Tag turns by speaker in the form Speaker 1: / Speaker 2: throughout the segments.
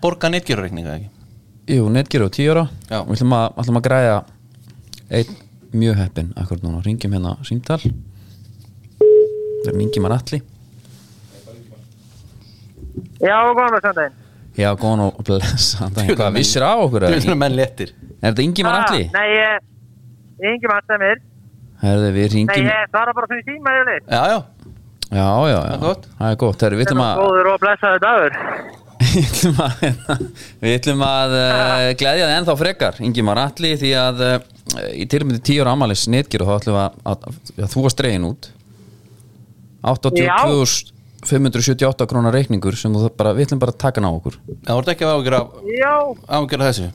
Speaker 1: borga netgjörreikninga ekki
Speaker 2: Jú, netgeru á 10 ára
Speaker 1: Já.
Speaker 2: og við ætlum að, ætlum að græja einn mjög heppin akkur núna, ringjum hérna símtal það er Ingimar Atli
Speaker 3: Já, góðan og söndag
Speaker 2: Já, góðan og blessan daginn. Hvað vissir á okkur?
Speaker 1: Þú
Speaker 2: eða?
Speaker 1: veist að menn léttir
Speaker 2: Er þetta Ingimar Atli?
Speaker 3: Ah, Nei, ég, ég yngi maður sem er
Speaker 2: Herðu, við
Speaker 3: Nei,
Speaker 2: ringjum Já,
Speaker 3: ég svara bara fyrir síma yfirleitt
Speaker 1: Já, já,
Speaker 2: já, já,
Speaker 1: er gott.
Speaker 2: það er gott Herðu, við ætlum að
Speaker 3: Góður og blessaður dagur
Speaker 2: Við ætlum að, við ætlum að uh, gleðja það ennþá frekar Ingimar Atli því að uh, í tilmyndi 10 ára amalis netgir og þá ætlum við að, að, að þú að stregin út 82.578 krónar reikningur sem þú þarf bara, við ætlum bara að taka hann á okkur
Speaker 1: það voru ekki að ágjöra
Speaker 3: Já,
Speaker 1: ágjöra þessu
Speaker 2: er,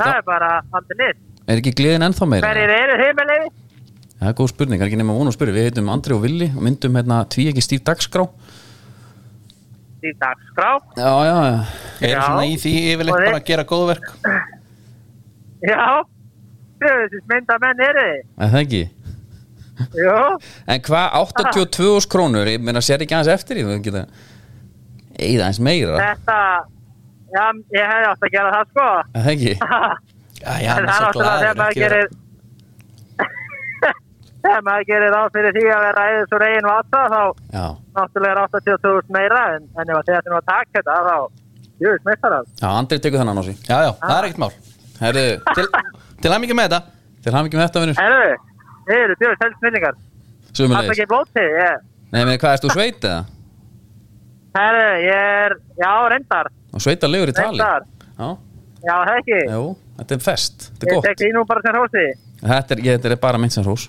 Speaker 3: það er bara aldrei nýtt
Speaker 2: er ekki gleðin ennþá meira?
Speaker 3: Hverjir eru heimilegi?
Speaker 2: Það er góð spurning, það er ekki nema von að spyrja Við heitum Andri og Villi og myndum hérna tví ekki stíf dagskrá
Speaker 3: Í dagskrá
Speaker 2: Já, já, já
Speaker 1: Er
Speaker 3: Já.
Speaker 1: svona í því yfirleitt
Speaker 3: Og þeir-
Speaker 1: bara að gera góðverk
Speaker 3: Já Þessi mynda menn eru þið
Speaker 2: Er það ekki
Speaker 3: Jú
Speaker 2: En hvað 82 krónur, ég meina sér ekki aðeins eftir í þú geta Eða aðeins meira
Speaker 3: Þetta Já, ég hefði átt að gera það sko
Speaker 2: Er það ekki?
Speaker 1: Já, já, hann
Speaker 3: En það er
Speaker 1: er svo
Speaker 3: áttúrulega þegar
Speaker 1: glaður
Speaker 3: maður
Speaker 1: ekki vera-
Speaker 3: gerir Þegar maður gerir ráð fyrir því að vera eða svo reygin vata þá
Speaker 2: Já,
Speaker 3: náttúrulega er 82.000 meira en, en ef að þegar þetta nú að taka þetta þá Jú, smittar það
Speaker 2: já Andri tekur þannan á sig
Speaker 1: Já, já, það er ekkert mál
Speaker 2: Herðu,
Speaker 1: Til, til að mikið með þetta
Speaker 2: til hann ekki með þetta vinnur
Speaker 3: Herru, þið eru djöfis helst snillingar. Það er
Speaker 2: Sumulegis
Speaker 3: ekki blótið, ég.
Speaker 2: Nei, meni, hvað erst þú sveit eða?
Speaker 3: Herru, ég er, já, reyndar,
Speaker 2: Og sveita í tali
Speaker 3: reyndar.
Speaker 2: Já,
Speaker 3: Já, það ekki.
Speaker 2: jú, þetta er fest Þetta er
Speaker 3: Ég tek
Speaker 2: gott
Speaker 3: því nú bara sem hósi.
Speaker 2: Þetta er, ég, þetta er bara mynd sem hrós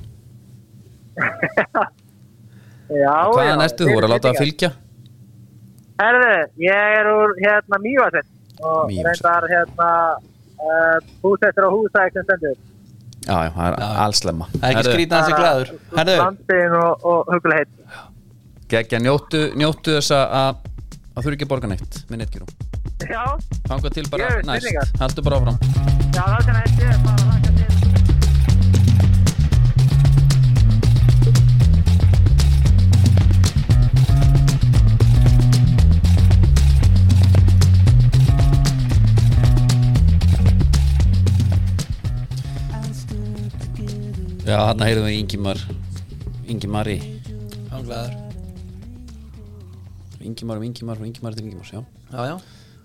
Speaker 3: Já, já.
Speaker 2: Hvaðan ertu? Þú voru að láta það
Speaker 3: snillingar.
Speaker 2: fylgja
Speaker 3: Herru, ég er úr, hérna, Mývasett. Og
Speaker 2: Mývatn.
Speaker 3: reyndar, hérna, uh, húsettur og húsæk sem stendur.
Speaker 2: Já, já, það er
Speaker 1: Já.
Speaker 2: allslemma
Speaker 1: Það er ekki skrýtna hans er glaður Herðu,
Speaker 3: Landin og, og hugulegheit.
Speaker 2: Gekja, njóttu, njóttu þess að að þú eru ekki að borga neitt með netgjörum
Speaker 3: Já,
Speaker 2: Fanga til bara
Speaker 3: Ég er snillingar.
Speaker 2: næst Haldu bara áfram
Speaker 3: já, það sem hætti er bara að laka til.
Speaker 2: Já, þarna heyrðum við Ingimar Ingimari
Speaker 1: hann glaður
Speaker 2: Ingimar um Ingimar og Ingimar til Ingimars, já
Speaker 1: Já, já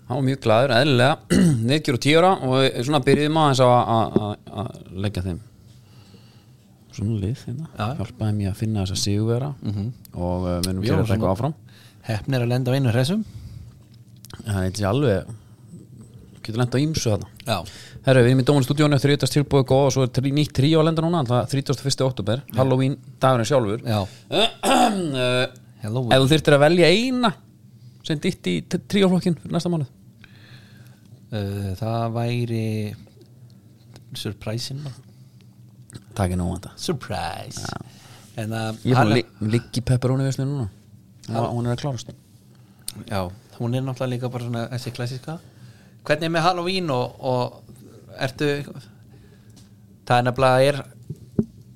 Speaker 2: Hann var mjög glaður, eðlilega, neðgjur og tíu ára og við svona byrjuðum aðeins á að- að að- að leggja þeim svona lið þeimna,
Speaker 1: Já.
Speaker 2: hjálpaði mér að finna þess að sigurvera
Speaker 1: Mhm.
Speaker 2: og uh, við erum
Speaker 1: Við
Speaker 2: til að
Speaker 1: vorum
Speaker 2: taka
Speaker 1: svona-
Speaker 2: áfram
Speaker 1: Hefn er að lenda á einu hressum
Speaker 2: Það er ekki alveg, getur lent á ímsu þarna
Speaker 1: Já
Speaker 2: Herru, við erum í Dómanu stúdíónu, þrítast tilbúið góð og svo er trí, nýtt trí á lenda núna, alltaf 31. oktober, Halloween, dagurinn sjálfur
Speaker 1: Já,
Speaker 2: uh,
Speaker 1: hello
Speaker 2: Ef þú þyrftir að velja eina sem ditt í tríóflokkin fyrir næsta mánuð
Speaker 1: uh, Það væri Surprise-in bara.
Speaker 2: Takk er nú vanda
Speaker 1: Surprise En að
Speaker 2: Ég er búin að
Speaker 1: hann-
Speaker 2: li, ligga í pepperoni veslu núna hún, hún er að klárast
Speaker 1: Já, hún er náttúrulega líka bara svona þessi klassiska Hvernig er með Halloween og, og ertu Það er nefnilega er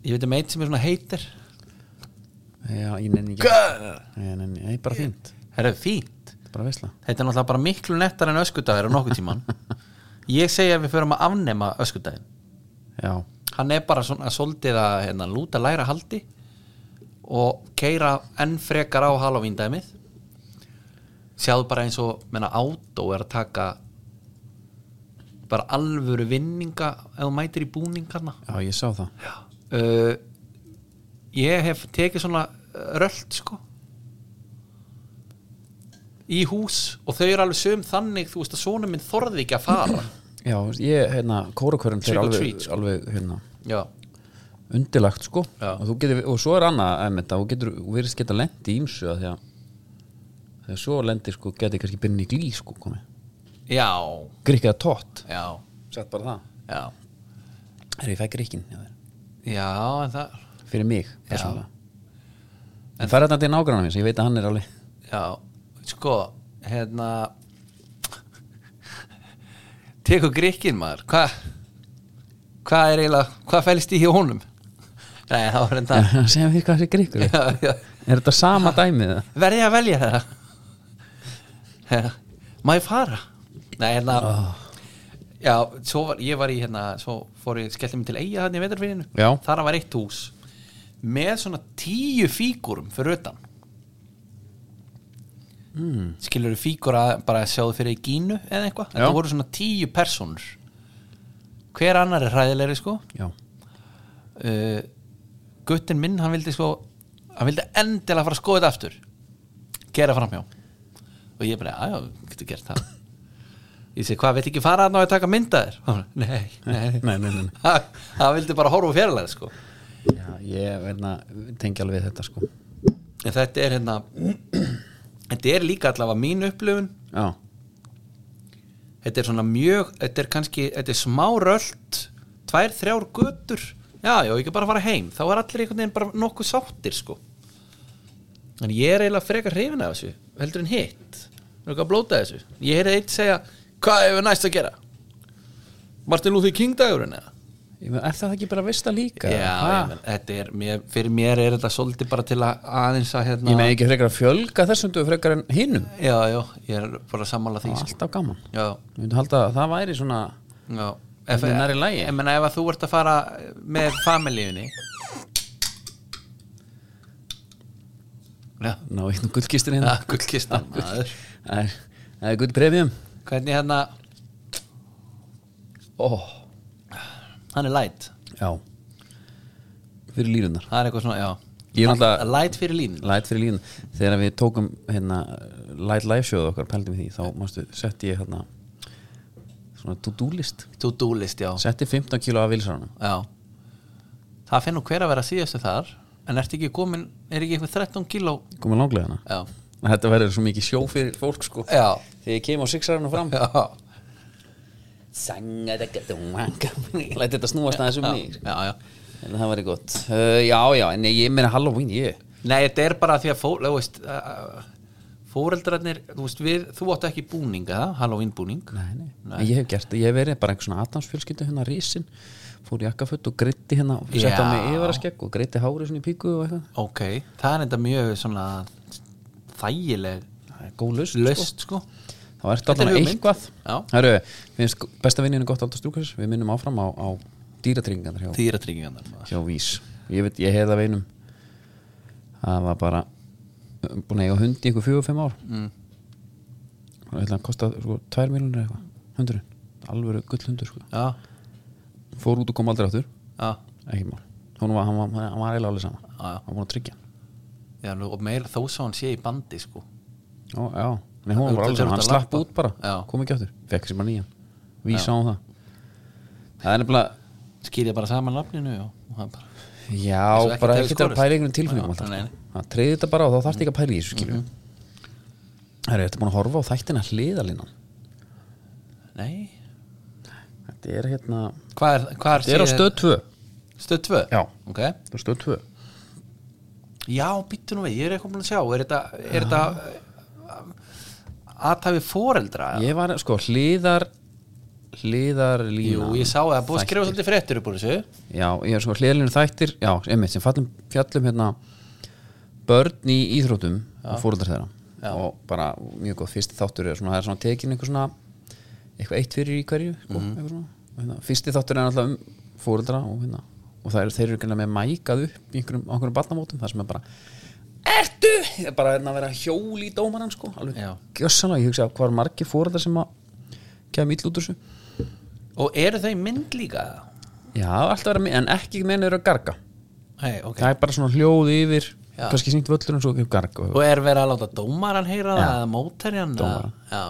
Speaker 1: Ég veit um eitt sem er svona heitir
Speaker 2: Já, ég nenni ekki Ég nenni, ég er bara fínt,
Speaker 1: Það er fínt
Speaker 2: bara vesla
Speaker 1: Þetta er náttúrulega bara miklu nettar en öskudagur á nokkuð tíman Ég segi að við förum að afnema öskudaginn
Speaker 2: Já,
Speaker 1: Hann er bara svona svolítið að hérna, lúta læra haldi og keira enn frekar á Halloween dæmið Sjáðu bara eins og menna átó er að taka bara alvöru vinninga ef þú mætir í búningarna
Speaker 2: já, ég sá það
Speaker 1: uh, Ég hef tekið svona uh, rölt sko í hús og þau eru alveg söm þannig þú veist að svona minn þorði ekki að fara
Speaker 2: Já, ég, hérna, kórakörun
Speaker 1: Trick
Speaker 2: fyrir
Speaker 1: or
Speaker 2: alveg,
Speaker 1: treat, sko.
Speaker 2: alveg, hérna
Speaker 1: Já,
Speaker 2: Undilagt, sko
Speaker 1: Já.
Speaker 2: og, þú getur, og svo er annað, emmitt, og getur verið geta lent í ímsu að því að þegar svo lendir, sko, geti kannski byrni í glý, sko, komið
Speaker 1: já,
Speaker 2: Grikkið að tótt,
Speaker 1: já,
Speaker 2: sett bara það
Speaker 1: já
Speaker 2: Er ég fæk grikkin, já, þér
Speaker 1: Já, en það
Speaker 2: Fyrir mig, persónulega En það er þetta til nágrannar minn, ég veit að hann er alveg
Speaker 1: Já, sko hérna tekur grikkin maður hvað hvað er eiginlega, hvað fælst í hjá honum Nei, það var enda
Speaker 2: Segja mér hvað þessi grikkur er
Speaker 1: Já, já.
Speaker 2: Er þetta sama dæmið? eða?
Speaker 1: verði ég að velja það má ég fara? Nei, hérna
Speaker 2: Ah.
Speaker 1: Já, svo var, ég var í hérna svo fór ég, skellti mig til eiga hann í vetarfyrinu
Speaker 2: Já.
Speaker 1: þar var eitt hús með svona tíu fígurum fyrir utan mm. skilur fígura bara sjáðu fyrir í gínu eða eitthvað,
Speaker 2: Hmm. Já.
Speaker 1: þetta voru svona tíu personur hver annar er hræðilegri sko
Speaker 2: Já,
Speaker 1: uh, guttin minn hann vildi sko hann vildi endilega fara að skoða þetta aftur gera framhjá og ég bara, aðjá, getur gert það ég segi, hvað, veit ekki fara að ná að taka mynda þér Hann bara, nei, nei,
Speaker 2: Nei, nei, nei, nei.
Speaker 1: Hann- hann vildi bara horfa fjarlæð sko.
Speaker 2: já ég verna, tengi alveg við þetta sko
Speaker 1: en þetta er hérna þetta er líka allavega mín upplifun
Speaker 2: Já,
Speaker 1: þetta er svona mjög, þetta er kannski þetta er smá rölt, tvær, þrjár götur, já, já, ég kan bara fara heim þá er allir einhvern veginn bara nokkuð sáttir sko. en ég er eiginlega frekar hrifin af þessu, heldur en hitt er ekki að blóta þessu, ég heyrði eitt segja hvað hefur næst að gera Martin Luther King dagurinn eða
Speaker 2: Ég meina, er það ekki bara vista líka?
Speaker 1: já, ég menn, þetta er, mér, fyrir mér er þetta svolítið bara til að aðeins að hérna,
Speaker 2: Ég með ekki frekar að fjölga þessum duð frekar en hinnum
Speaker 1: já, já, ég er bara að sammála því,
Speaker 2: Það var
Speaker 1: sko.
Speaker 2: alltaf gaman
Speaker 1: já,
Speaker 2: Ég myndi halda að það væri svona
Speaker 1: já
Speaker 2: Þetta er nærri lagi.
Speaker 1: Ég meina ef að þú ert að fara með familíunni Já,
Speaker 2: Ná, eitt gullkistin hérna
Speaker 1: ja, gullkistan maður.
Speaker 2: Það er- það er gull premium
Speaker 1: Ah, Hvernig hérna Ó Hann er light
Speaker 2: Já Fyrir línunar
Speaker 1: Það er eitthvað svona, já
Speaker 2: Ég er náttúrulega-
Speaker 1: Light fyrir línu
Speaker 2: Light fyrir línunar Þegar við tókum hérna Light Live sjóðu okkar, pældum við því Þá mástu, setti ég hérna Svona to-do list
Speaker 1: To do list, já
Speaker 2: Setti 15 kíló af vilsarunum
Speaker 1: Já Það finnur hver að vera síðastu þar En ertu ekki komin, er ekki eitthvað 13 kíló
Speaker 2: Komum langlega hana
Speaker 1: Já
Speaker 2: Þetta verður svo mikið sjó fyrir fólk sko
Speaker 1: Já,
Speaker 2: Þegar ég kem á sixarunum fram
Speaker 1: já
Speaker 2: Lætt þetta snúast aðeins um
Speaker 1: Já,
Speaker 2: mig
Speaker 1: já, já
Speaker 2: En það væri gott uh, Já, já, en ég meina Halloween ég
Speaker 1: Nei, þetta er bara því að fó, þú veist, fóreldrarnir þú, veist, við, þú átt ekki búning eða? Halloween búning
Speaker 2: Nei, nei, En ég hef gert það, ég hef verið bara einhver svona Adamsfjölskyldu hérna risin Fór í akkaföld og gritti hérna Sett á
Speaker 1: Já.
Speaker 2: mig yfaraskegg og gritti hárið svona í píku og eitthvað
Speaker 1: Ok, það er enda mjög svona þægileg
Speaker 2: Það er góð lausn,
Speaker 1: löst sko
Speaker 2: sko. Það er
Speaker 1: Þetta er
Speaker 2: alltaf
Speaker 1: hugmynd.
Speaker 2: eitthvað
Speaker 1: Já.
Speaker 2: Herru, finnst besta vinninu gott aldrei strúkars Við minnum áfram á, á dýratryggingarnar hjá,
Speaker 1: Þýratryggingarnar
Speaker 2: hjá Vís Ég veit, ég hefði það veinum Það var bara um, Búin að eiga hund í einhver fjögur og fimm ár
Speaker 1: mm.
Speaker 2: Það ætla að kosta sko, tvær miljonir eitthvað Hundurinn, alvöru gullhundur sko.
Speaker 1: Já,
Speaker 2: Fór út og kom aldrei áttur
Speaker 1: já,
Speaker 2: ekki mál hún var, hann var, hann var eiginlega alveg saman
Speaker 1: Já, já.
Speaker 2: hann var búin að tryggja hann
Speaker 1: já nú, og meira þó svo hann sé í bandi sko
Speaker 2: já, já, Nei,
Speaker 1: Þú
Speaker 2: hún var
Speaker 1: ert að
Speaker 2: alveg saman, hann
Speaker 1: þurft að
Speaker 2: slapp
Speaker 1: labba.
Speaker 2: út bara
Speaker 1: Já.
Speaker 2: kom ekki áttur, fekk sem bara nýjan vísa á það það er nefnilega,
Speaker 1: Skýrja bara saman nafninu og, og hann bara Þessu
Speaker 2: já,
Speaker 1: ekki
Speaker 2: bara
Speaker 1: til
Speaker 2: ekki til að
Speaker 1: skorist.
Speaker 2: pæla einhvern tilfinningum
Speaker 1: Já,
Speaker 2: alltaf
Speaker 1: nei,
Speaker 2: sko.
Speaker 1: nei.
Speaker 2: það treyði þetta bara og þá þarfst ekki að pæla í þessu skilju mm
Speaker 1: Mhm.
Speaker 2: það er þetta búin að horfa á þættina hliðalinnan
Speaker 1: Nei,
Speaker 2: þetta er hérna,
Speaker 1: hvað er, hvað er
Speaker 2: þetta er á
Speaker 1: sé-
Speaker 2: stöð 2
Speaker 1: Stöð 2?
Speaker 2: Já.
Speaker 1: Ok
Speaker 2: þetta er stöð 2
Speaker 1: Já, býttu nú við, ég er eitthvað búin að sjá Er þetta, er þetta aðtæfi foreldra? eða?
Speaker 2: ég var, sko, hliðar hliðarlínan
Speaker 1: Jú, ég sá það, búið að skrifa svolítið fréttur upp úr þessu
Speaker 2: Já, ég er sko hliðalínu þættir Já, einmitt, sem fallum, fjallum hérna börn í íþrótum og fóröldar þeirra og bara mjög góð, fyrsti þáttur er svona, það er svona tekin eitthvað svona eitthvað eitt fyrir í hverju sko, eitthvað svona, Og hérna, fyrsti þáttur er alltaf um fóröldra og, hérna, og það eru þeir eru ekki með mækað upp í einhverjum, á einhverjum barnamótum, það sem er bara Ertu? Það er bara hérna að vera hjól í dómaran sko, alveg
Speaker 1: Já.
Speaker 2: gjössanlega, ég hugsa hvað er margir fóröldar sem að kemja ítl út úr þessu
Speaker 1: Og eru þau í mynd líka?
Speaker 2: Já, alltaf vera, en ekki menn eru að garga
Speaker 1: Hei, ok
Speaker 2: það er bara svona hljóð yfir
Speaker 1: Já.
Speaker 2: kannski sýnt völlur og svo upp garg og,
Speaker 1: Og er verið að láta dómaran heyra það eða móterjan?
Speaker 2: Dómaran.
Speaker 1: Já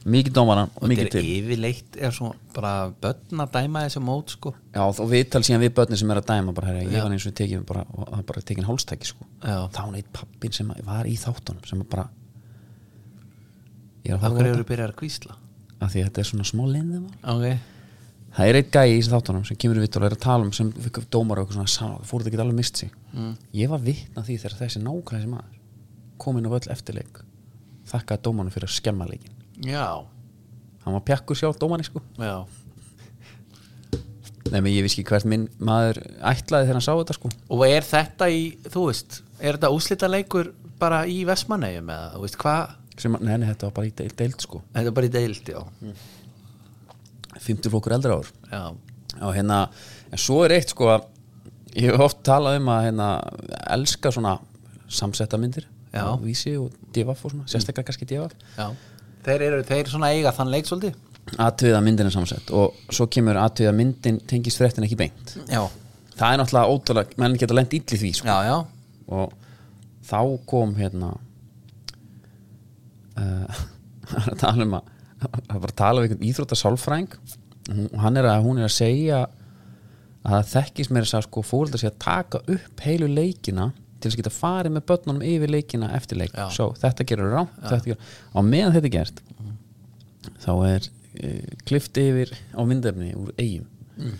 Speaker 2: mikið dómaran og mikið
Speaker 1: Þetta
Speaker 2: til
Speaker 1: er yfirleitt, er svona bara börn að dæma þessu mót sko
Speaker 2: já, og viðtal síðan við börnin sem er að dæma bara, herra, ég var eins og tekið bara, og það er bara tekin hálstæki sko.
Speaker 1: Já.
Speaker 2: þá hann eitt pappin sem var í þáttunum sem bara ég er að
Speaker 1: Akkur
Speaker 2: horfa á
Speaker 1: eru byrjað að kvísla
Speaker 2: þetta af því að þetta er svona smá lindið var
Speaker 1: Ok
Speaker 2: það er eitt gæi í þessu þáttunum sem kemur í viðtal og er að tala um sem fikk dómar og eitthvað svona sá, fór þetta ekki alveg mist sig mm. ég var vitna því þegar þessi nákvæði sem maður kom inn á völl eftirleik þakkaði dómanu fyrir að skemma leikin
Speaker 1: Já,
Speaker 2: hann var pjakkur sjálf dómanu sko
Speaker 1: já
Speaker 2: Nei, menn ég vissi ekki hvert minn maður ætlaði þegar hann sá þetta sko
Speaker 1: Og er þetta í, þú veist, er þetta úslita leikur bara í Vestmanneigum eða, þú veist, hvað
Speaker 2: sem, að- nei, nei, þetta var bara í deild, deild sko
Speaker 1: Þetta er bara í deild, já
Speaker 2: 50 flokkur eldra ár
Speaker 1: Mm. Já,
Speaker 2: og hérna, en svo er eitt sko að ég hef oft talað um að hérna, elska svona samsetta myndir
Speaker 1: Já.
Speaker 2: á vísi og divaf og svona, sérstaklega kannski divaf
Speaker 1: já Þeir eru, þeir svona eiga þann leik svolítið
Speaker 2: aðtöða myndin er samsett og svo kemur aðtöða myndin tengist fréttin ekki beint
Speaker 1: Já,
Speaker 2: það er náttúrulega ótrúlega, menn geta lent illi því sko.
Speaker 1: já, já
Speaker 2: og þá kom hérna uh, að tala um að að bara tala við einhvern íþróttasálfræðing og hann er að, hún er að segja að það þekkist mér þess að segja, sko fóreldar sé að taka upp heilu leikina til þess að geta farið með börnunum yfir leikina eftir leik,
Speaker 1: Já.
Speaker 2: svo þetta gerur rá þetta gerur, á meðan þetta er gert
Speaker 1: Mhm.
Speaker 2: þá er e, klift yfir á myndefni úr eigum
Speaker 1: Mm.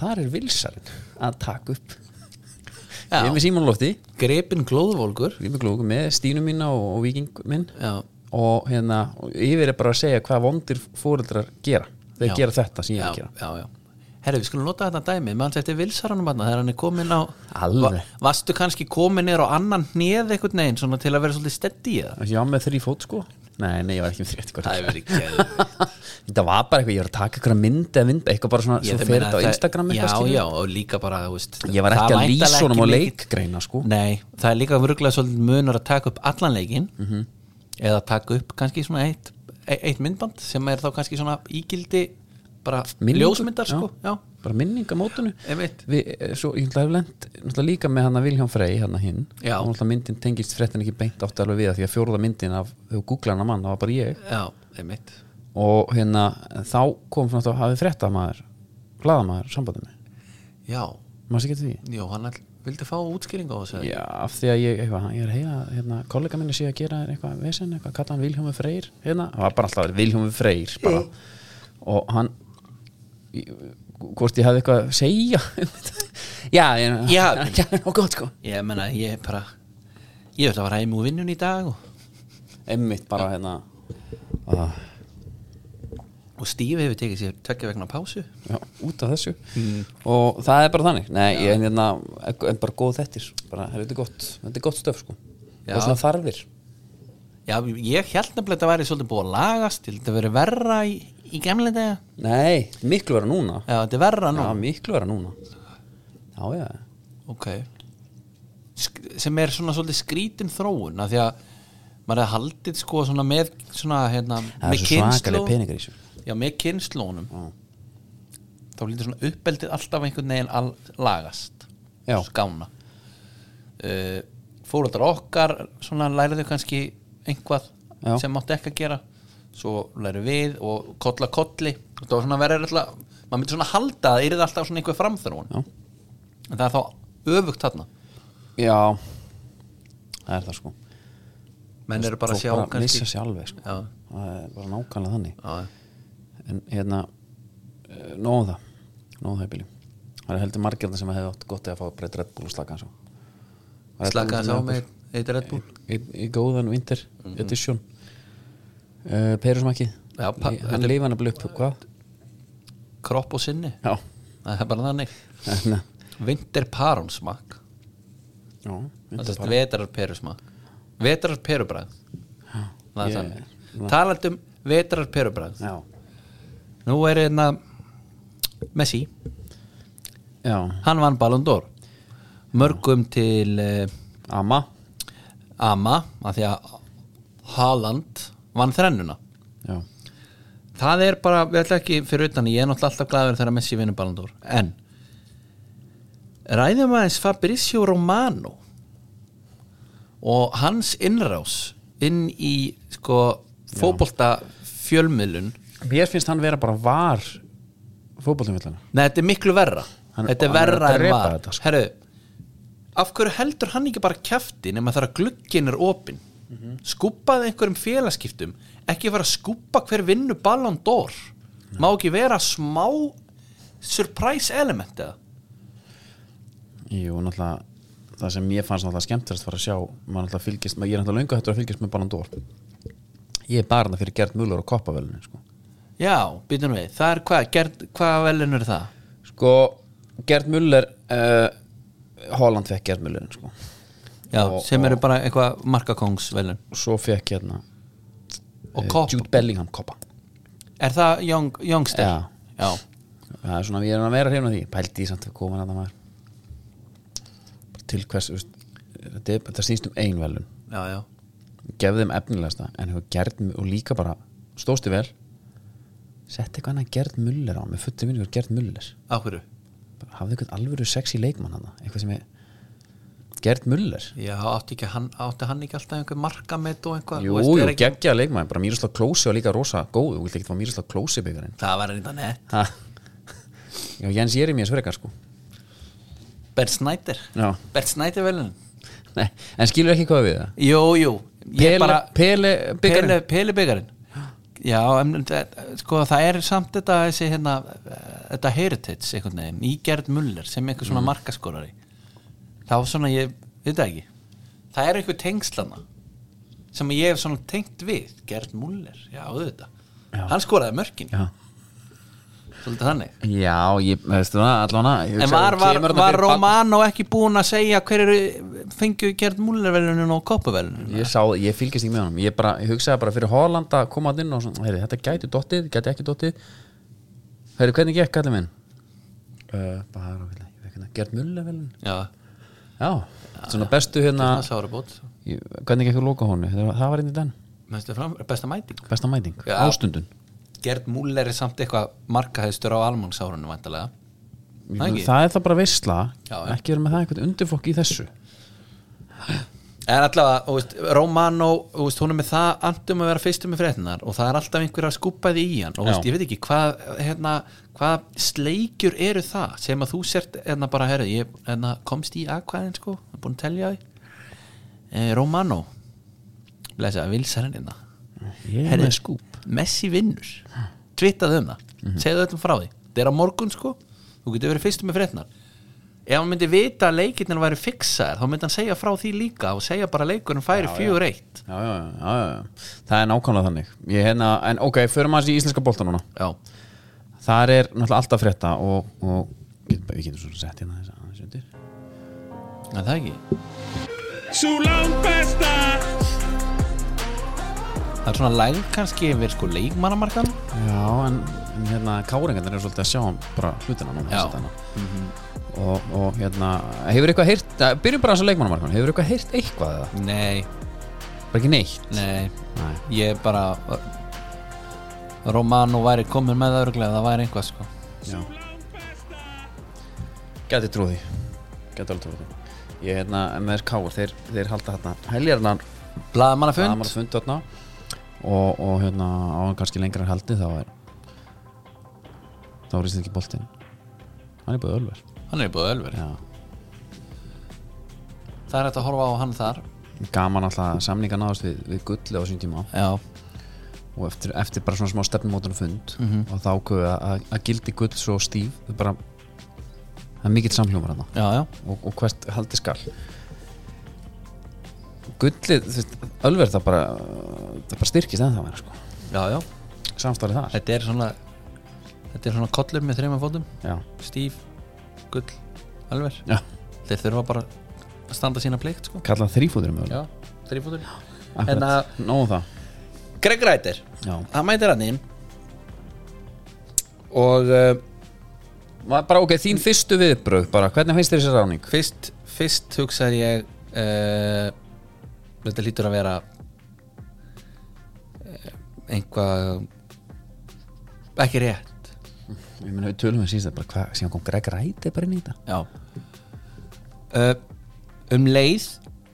Speaker 2: þar er vilsarinn að taka upp
Speaker 1: Já.
Speaker 2: ég er með síman lofti
Speaker 1: Grepin glóðvolgur
Speaker 2: Glúk, með stínu mína og, og viking minn
Speaker 1: Já,
Speaker 2: og hérna og yfir er bara að segja hvað vondir fóreldrar gera þeir
Speaker 1: Já.
Speaker 2: gera þetta sem ég er að
Speaker 1: já,
Speaker 2: gera
Speaker 1: já, já Herri, við skulum nota þetta dæmi, mann þetta er vilsaranum hann þegar hann er komin á
Speaker 2: Alveg.
Speaker 1: Vastu kannski komin niður á annan hnið einhvern veginn, svona til að vera svolítið steddi í það
Speaker 2: Þessi, ég var með þrý fót sko nei, nei, ég var ekki með þrý eitthvað
Speaker 1: Það er verið geðvikt.
Speaker 2: þetta var bara eitthvað, ég var að taka eitthvað mynd eða mynd, eitthvað bara svona,
Speaker 1: Ég
Speaker 2: svo
Speaker 1: meina
Speaker 2: fer þetta á
Speaker 1: það-
Speaker 2: Instagram
Speaker 1: Já,
Speaker 2: eitthvað skilur.
Speaker 1: já, og líka bara, þú veist
Speaker 2: ég var
Speaker 1: það
Speaker 2: ekki
Speaker 1: væntanlega
Speaker 2: að lýsa honum á
Speaker 1: ekki mikið-
Speaker 2: leikgreina sko
Speaker 1: Nei, það er líka vörglega svolítið munur að taka upp allan leikinn
Speaker 2: Mhm.
Speaker 1: eða taka upp kannski svona eitt, e- eitt myndband sem er þá kannski svona ígildi bara
Speaker 2: Minningu,
Speaker 1: ljósmyndar sko Já,
Speaker 2: bara minningamótunu
Speaker 1: Einmitt.
Speaker 2: við, eh, svo ég ætla að hef lent náttúrulega líka með hann að Vilján Frey hann að hinn
Speaker 1: Já.
Speaker 2: og náttúrulega myndin tengist fréttin ekki beint átti alveg við að því að fjóruða myndin af þú googla hann að mann, það var bara ég
Speaker 1: já, einmitt
Speaker 2: og hérna þá kom svona þá hafið fréttamaður hlaðamaður sambandinu
Speaker 1: Já,
Speaker 2: maður sé getur því
Speaker 1: já, hann all, vildi fá útskýring á þessu
Speaker 2: Já, af því að ég, eitthvað, ég er að heyra að, hérna, kollega minni sé að gera eitthvað vesen, eitthvað, kalla hann Vilhjómi Freyr hérna, það var bara alltaf Vilhjómi Freyr bara. og hann ég- hvort ég hefði eitthvað að segja um þetta. já, ég,
Speaker 1: Já.
Speaker 2: já, og gott sko
Speaker 1: Ég menna, ég er bara ég ætla að fara heim úr vinnun í dag og,
Speaker 2: einmitt bara hérna að,
Speaker 1: og Stífi hefur tekið sér tökja vegna pásu
Speaker 2: já, út af þessu
Speaker 1: Mm.
Speaker 2: og það er bara þannig, nei, ég er hérna en bara góð þettir, bara, heyrðu, þetta er gott þetta er gott stöf sko,
Speaker 1: Já.
Speaker 2: og svona þarfir
Speaker 1: Já, ég held nefnilega að þetta væri svolítið búið að lagast ég held að þetta verið verra í, í gamlega dega
Speaker 2: nei, miklu vera núna
Speaker 1: Já, þetta er verra nú
Speaker 2: já, miklu vera núna já, já, já
Speaker 1: ok Sk sem er svona svolítið skrítin þróun af því að maður hefði haldið sko svona með svona hérna
Speaker 2: Það er
Speaker 1: með
Speaker 2: svo svakalega
Speaker 1: kynnslóð-
Speaker 2: peningar í þessu
Speaker 1: já með kynnslónum
Speaker 2: Já.
Speaker 1: þá lítur svona uppeldið alltaf einhvern veginn al lagast
Speaker 2: Já.
Speaker 1: skána uh, fóröldar okkar svona læriðu kannski einhvað
Speaker 2: Já.
Speaker 1: sem mátti ekki að gera svo læri við og kolla kolli þetta var svona verið alltaf maður myndi svona halda að það yrði alltaf svona einhver framþróun
Speaker 2: Já.
Speaker 1: en það er þá öfugt þarna
Speaker 2: Já Það er það sko
Speaker 1: menn eru bara að
Speaker 2: Svo
Speaker 1: sjá
Speaker 2: bara
Speaker 1: kannski
Speaker 2: missa sér alveg sko
Speaker 1: Já.
Speaker 2: Það er bara nákvæmlega þannig
Speaker 1: Já,
Speaker 2: En hérna eh, Nóðum það Nóðum það í bíli Það er heldur margirna sem hefði átt gott að fá breytt Red Bull og slaka hans á Var Red
Speaker 1: slaka
Speaker 2: Bull
Speaker 1: þess á
Speaker 2: okkur?
Speaker 1: með eitt Red Bull
Speaker 2: í, í góðan Winter Edition uh, Perusmakið
Speaker 1: Mhm. Já, pa-
Speaker 2: Hann leif hann að bli upp Hvað?
Speaker 1: kropp og sinni,
Speaker 2: Já
Speaker 1: það er bara þannig
Speaker 2: Hérna.
Speaker 1: vinter paronsmak
Speaker 2: Já
Speaker 1: það sést vetrar perusmak vetrar perubræð það er
Speaker 2: Ég-
Speaker 1: þannig talandi um vetrar perubræð
Speaker 2: Já
Speaker 1: nú er einna Messi,
Speaker 2: Já
Speaker 1: hann vann Ballon d'Or mörgum til uh,
Speaker 2: Amma
Speaker 1: Ama af því að Haaland vann þrennuna
Speaker 2: Já
Speaker 1: það er bara, við ætlum ekki fyrir utan ég er náttúrulega alltaf glæður þegar Messi vinnur Ballon d'Or en ræðum aðeins Fabrizio Romano og hans innrás inn í sko fótbolta fjölmiðlun
Speaker 2: Mér finnst hann vera bara var fótbollumvillana
Speaker 1: Nei, þetta er miklu verra
Speaker 2: Hann-
Speaker 1: Þetta er
Speaker 2: hann er að
Speaker 1: verra en
Speaker 2: drepa
Speaker 1: var
Speaker 2: þetta, sko.
Speaker 1: Herru, af hverju heldur hann ekki bara kjafti nema þar að glugginn er opinn mm einhverjum félagskiptum ekki fara að skúpa hver vinnu Ballon d'Or má ekki vera smá surprise element eða
Speaker 2: Jú, náttúrulega það sem ég fannst náttúrulega skemmtirast var að sjá maður náttúrulega fylgist, maður, ég er náttúrulega löngu hættur að fylgist með Ballon d'Or Ég er bara þarna fyrir Gert Muller og koppavelinu sko.
Speaker 1: Já, býtum við, það er hvað gerð, hvaða velin er það?
Speaker 2: sko, Gert Muller uh, Holland fekk Gert Muller sko.
Speaker 1: Já,
Speaker 2: Og-
Speaker 1: sem
Speaker 2: og-
Speaker 1: eru bara eitthvað markakóngsvelin
Speaker 2: og svo fekk hérna
Speaker 1: Og
Speaker 2: Eh,
Speaker 1: Kopp.
Speaker 2: Jude Bellingham koppa
Speaker 1: Er það young, youngster?
Speaker 2: Já.
Speaker 1: Já.
Speaker 2: það er svona, ég er að vera hrifna því pældi í samt að koma hann að maður Bara til hvers þú veist, þetta er- þetta snýst um einvelun
Speaker 1: Já, já.
Speaker 2: gefði þeim efnilegasta en hefur gerð og líka bara stósti vel sett eitthvað annað gerð muller á með fullir vinningur gerð muller
Speaker 1: Á hverju?
Speaker 2: Bara hafði eitthvað alvöru sexy leikmann hann eitthvað sem er gerð muller
Speaker 1: Já, átti, ekki, hann, átti hann ekki alltaf einhver markamett og einhvað?
Speaker 2: jú,
Speaker 1: Þú veist,
Speaker 2: jú,
Speaker 1: er
Speaker 2: ekki... geggja leikmann bara Míroslav Klósi var líka rosa góð þú vilt ekki fá Míroslav Klósi byggarinn
Speaker 1: Það var reynda nett.
Speaker 2: ha já, Jens Jeremías frekar sko
Speaker 1: Bert Snyder.
Speaker 2: já,
Speaker 1: Bert Snyder velin.
Speaker 2: nei, en skilur ekki hvað við það
Speaker 1: Jú, jú.
Speaker 2: Pele,
Speaker 1: Ég bara,
Speaker 2: Pele byggarinn
Speaker 1: Pele, Pele byggarinn. Já, en, eh, sko það er samt þetta þessi hérna, eh, þetta heritage einhvern veginn, í Gerd Muller sem einhver
Speaker 2: Mhm.
Speaker 1: svona markaskorari þá svona ég, veit það ekki það er einhver tengslana sem ég hef svona tengt við Gerd Muller, já auðvitað
Speaker 2: Já.
Speaker 1: hann skoraði mörkin,
Speaker 2: já,
Speaker 1: svolítið þannig
Speaker 2: já ég, veistu það, allan að
Speaker 1: en var, var, var Romano ekki búin að segja hverju fengju Gerd Muller velunum og koppuvelunum
Speaker 2: ég, sá, ég fylgist ekki með honum ég, bara, ég hugsaði bara fyrir Holland að koma að inn og svona, heyri, þetta gæti dottið, gæti ekki dottið heyri, hvernig gekk allir minn uh, bara á vilja, ég veit ekki Gert Mulle vel
Speaker 1: já,
Speaker 2: já, svona bestu hérna
Speaker 1: það sára bótt
Speaker 2: ég, hvernig gekk að loka hónu, það, það var einnig den
Speaker 1: besta mæting
Speaker 2: besta mæting,
Speaker 1: Já.
Speaker 2: ástundun
Speaker 1: Gerd Muller er samt eitthvað markahæðstur á almansárunum vantarlega Það
Speaker 2: Ég meina,
Speaker 1: ekki?
Speaker 2: það er það bara veistla,
Speaker 1: Já, já.
Speaker 2: ekki vera með það einhvern undirflokk í þessu
Speaker 1: En allavega, þú veist, Romano þú veist, hún er með það andum að vera fyrstum með fréttinar og það er alltaf einhver að skúpa því í hann og þú veist,
Speaker 2: Já.
Speaker 1: ég veit ekki hvað hérna, hvað sleikjur eru það sem að þú sért, hérna bara, herri ég hérna, komst í aðkvæðin, sko, ég er búin að telja því eh, Romano lesa, vilsarinn hérna
Speaker 2: ég er
Speaker 1: Herri.
Speaker 2: með skúp
Speaker 1: Messi vinnur tvittaðu um það, segðu öllum frá því þetta er á morgun, sko, þú getur verið fyrstum með fréttinar ef hann myndi vita að leikirnir væri fixaðir, þá myndi hann segja frá því líka og segja bara að leikurinn færi fjögur eitt
Speaker 2: já, já, já, já, já. það er nákvæmlega þannig ég, hérna, en ok, förum aðeins í íslenska bolta núna
Speaker 1: Já,
Speaker 2: þar er náttúrulega alltaf frétta og, og við getum svo sett hérna þess aðeins undir
Speaker 1: en það ekki
Speaker 4: Sú langbesta
Speaker 1: Það er svona læg kannski yfir sko leikmannamarkan
Speaker 2: já, en, en hérna káringarnir eru svolítið að sjá um bara hlutina núna
Speaker 1: Já.
Speaker 2: þessa dagana. og, og hérna hefur eitthvað heyrt, eh, byrjum bara þess að leikmannamarkan hefur eitthvað heyrt eitthvað eða,
Speaker 1: Nei,
Speaker 2: bara ekki neitt
Speaker 1: nei,
Speaker 2: Nei.
Speaker 1: ég er bara uh, Romano væri komin með það örglega það væri einhvað sko
Speaker 2: Já. Gæti trúði Gæti alveg trúði Ég hérna, MR Káur, þeir, þeir halda hérna heljarnar
Speaker 1: Blaðamannafund
Speaker 2: Fund. fund þarna og, og hérna á kannski lengra en haldið þá er þá er íslenski boltinn hann er búið ölver
Speaker 1: Hann er í búið ölver
Speaker 2: Já.
Speaker 1: Það er hægt að horfa á hann þar
Speaker 2: gaman alltaf að samninga náðast við, við gulli á sín tíma
Speaker 1: Já,
Speaker 2: og eftir, eftir bara svona smá stefnumótan fund og þá ákveðu að, að gildi gull svo stíf það er bara það er mikill samhljómar þarna
Speaker 1: já, já
Speaker 2: og, og hvert haldi skal gullið þú veist, ölver það bara það bara styrkist en það verður sko
Speaker 1: Já, já,
Speaker 2: samstárið þar
Speaker 1: þetta er svona Þetta er svona kollur með þreima fótum
Speaker 2: Já.
Speaker 1: Stíf, gull, ölver
Speaker 2: Já.
Speaker 1: Þeir þurfa bara að standa sína plikt sko
Speaker 2: kallað þrýfútur um ölver
Speaker 1: Já, þrýfótur En
Speaker 2: Akkurat,
Speaker 1: að-
Speaker 2: nóðum það
Speaker 1: Greg Rætir
Speaker 2: Já.
Speaker 1: hann mætir hann inn og uh,
Speaker 2: Ma- eh, Bara ok, þín fyrstu viðbröð bara, hvernig finnst þér þessi ráning?
Speaker 1: fyrst, fyrst hugsaði ég uh, þetta lítur að vera uh, einhvað ekki rétt
Speaker 2: Ég meina, við tölum við síðast að bara hvað, síðan kom Greg Ræti bara inn í þetta
Speaker 1: já uh, um leið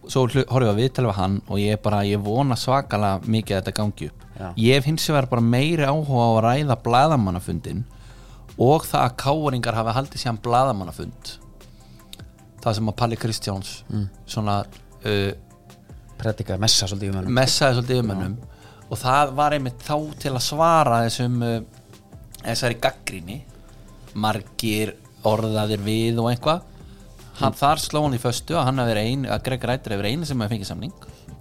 Speaker 1: svo hlu- horfði ég að viðtala við hann og ég bara, ég vona svakalega mikið að þetta gangi upp
Speaker 2: Já.
Speaker 1: ég hef hins vegar bara meiri áhuga á að ræða blaðamannafundin og það að káringar hafi haldið sér blaðamannafund það sem að Palli Kristjáns svona uh,
Speaker 2: Predikaði messa svolítið um hann
Speaker 1: messaði svolítið um hennum og það var einmitt þá til að svara þessum uh, þessari gaggrinni margir orðaðir við og eitthvað hann, þar sló hann í föstu að hann hafi verið ein að Greg Rættur hefur einu sem hefur fengið samning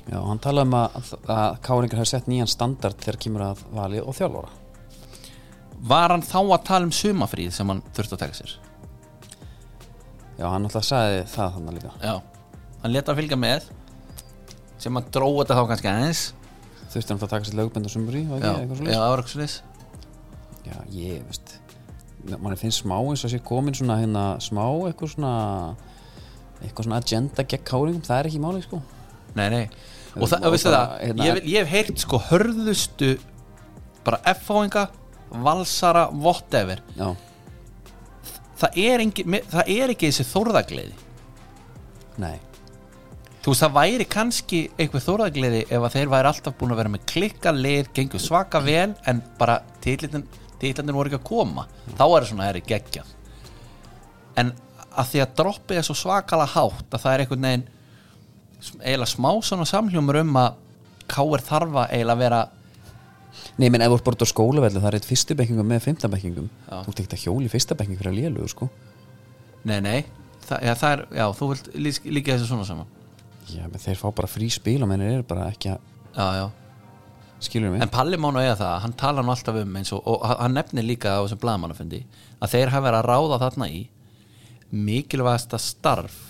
Speaker 2: Já, hann talaði um að, að Káringar hefur sett nýjan standard þegar kemur að valið og þjálfóra
Speaker 1: var hann þá að tala um sumafríð sem hann þurfti að taka sér
Speaker 2: Já, hann alltaf sagði það þannig líka
Speaker 1: já, hann leta að fylgja með sem að dróa þetta þá kannski aðeins
Speaker 2: þurfti hann að taka sér lögbend og sumri var
Speaker 1: já,
Speaker 2: ekki, eitthvað
Speaker 1: já,
Speaker 2: svoleiðis?
Speaker 1: árakslis
Speaker 2: já, ég veist mann finnst smá eins og sé komin svona hérna smá eitthvað svona eitthvað svona agenda gegn káringum það er ekki máli sko
Speaker 1: Nei, nei Og
Speaker 2: Og
Speaker 1: það, veistu
Speaker 2: bara,
Speaker 1: það,
Speaker 2: hérna,
Speaker 1: ég, vil- ég hef heyrt sko hörðustu bara F-fáinga, valsara, whatever
Speaker 2: já,
Speaker 1: Það er, engi, me- það er ekki þessi þórðagleði
Speaker 2: nei,
Speaker 1: Þú veist, það væri kannski einhver þórðagleði ef að þeir væri alltaf búin að vera með klikka lið, gengur svaka vel en bara titlandin voru ekki að koma
Speaker 2: Mm.
Speaker 1: þá er það svona, það er geggjað en að því að droppið er svo svakala hátt að það er einhvern veginn sm- eiginlega smá svona samhljómur um að káir þarfa eiginlega að vera
Speaker 2: nei, menn ef þú ert bara út á skólavellu það er eitt fyrstu bekkingum með fymta bekkingum
Speaker 1: Já.
Speaker 2: þú ert ekkert að hjóli fyrsta bekking fyrir að lélugu sko
Speaker 1: nei, nei, það, já, það er, já, þú vilt lís- líka þessu svona saman
Speaker 2: já, menn þeir fá bara frí spil og mennir eru bara ekki að
Speaker 1: já, já
Speaker 2: skilur mig
Speaker 1: En Palli má nú eiga það, hann tala nú alltaf um eins og, og hann nefnir líka á þessum blaðamannafundi að þeir hafa verið að ráða þarna í mikilvægasta starf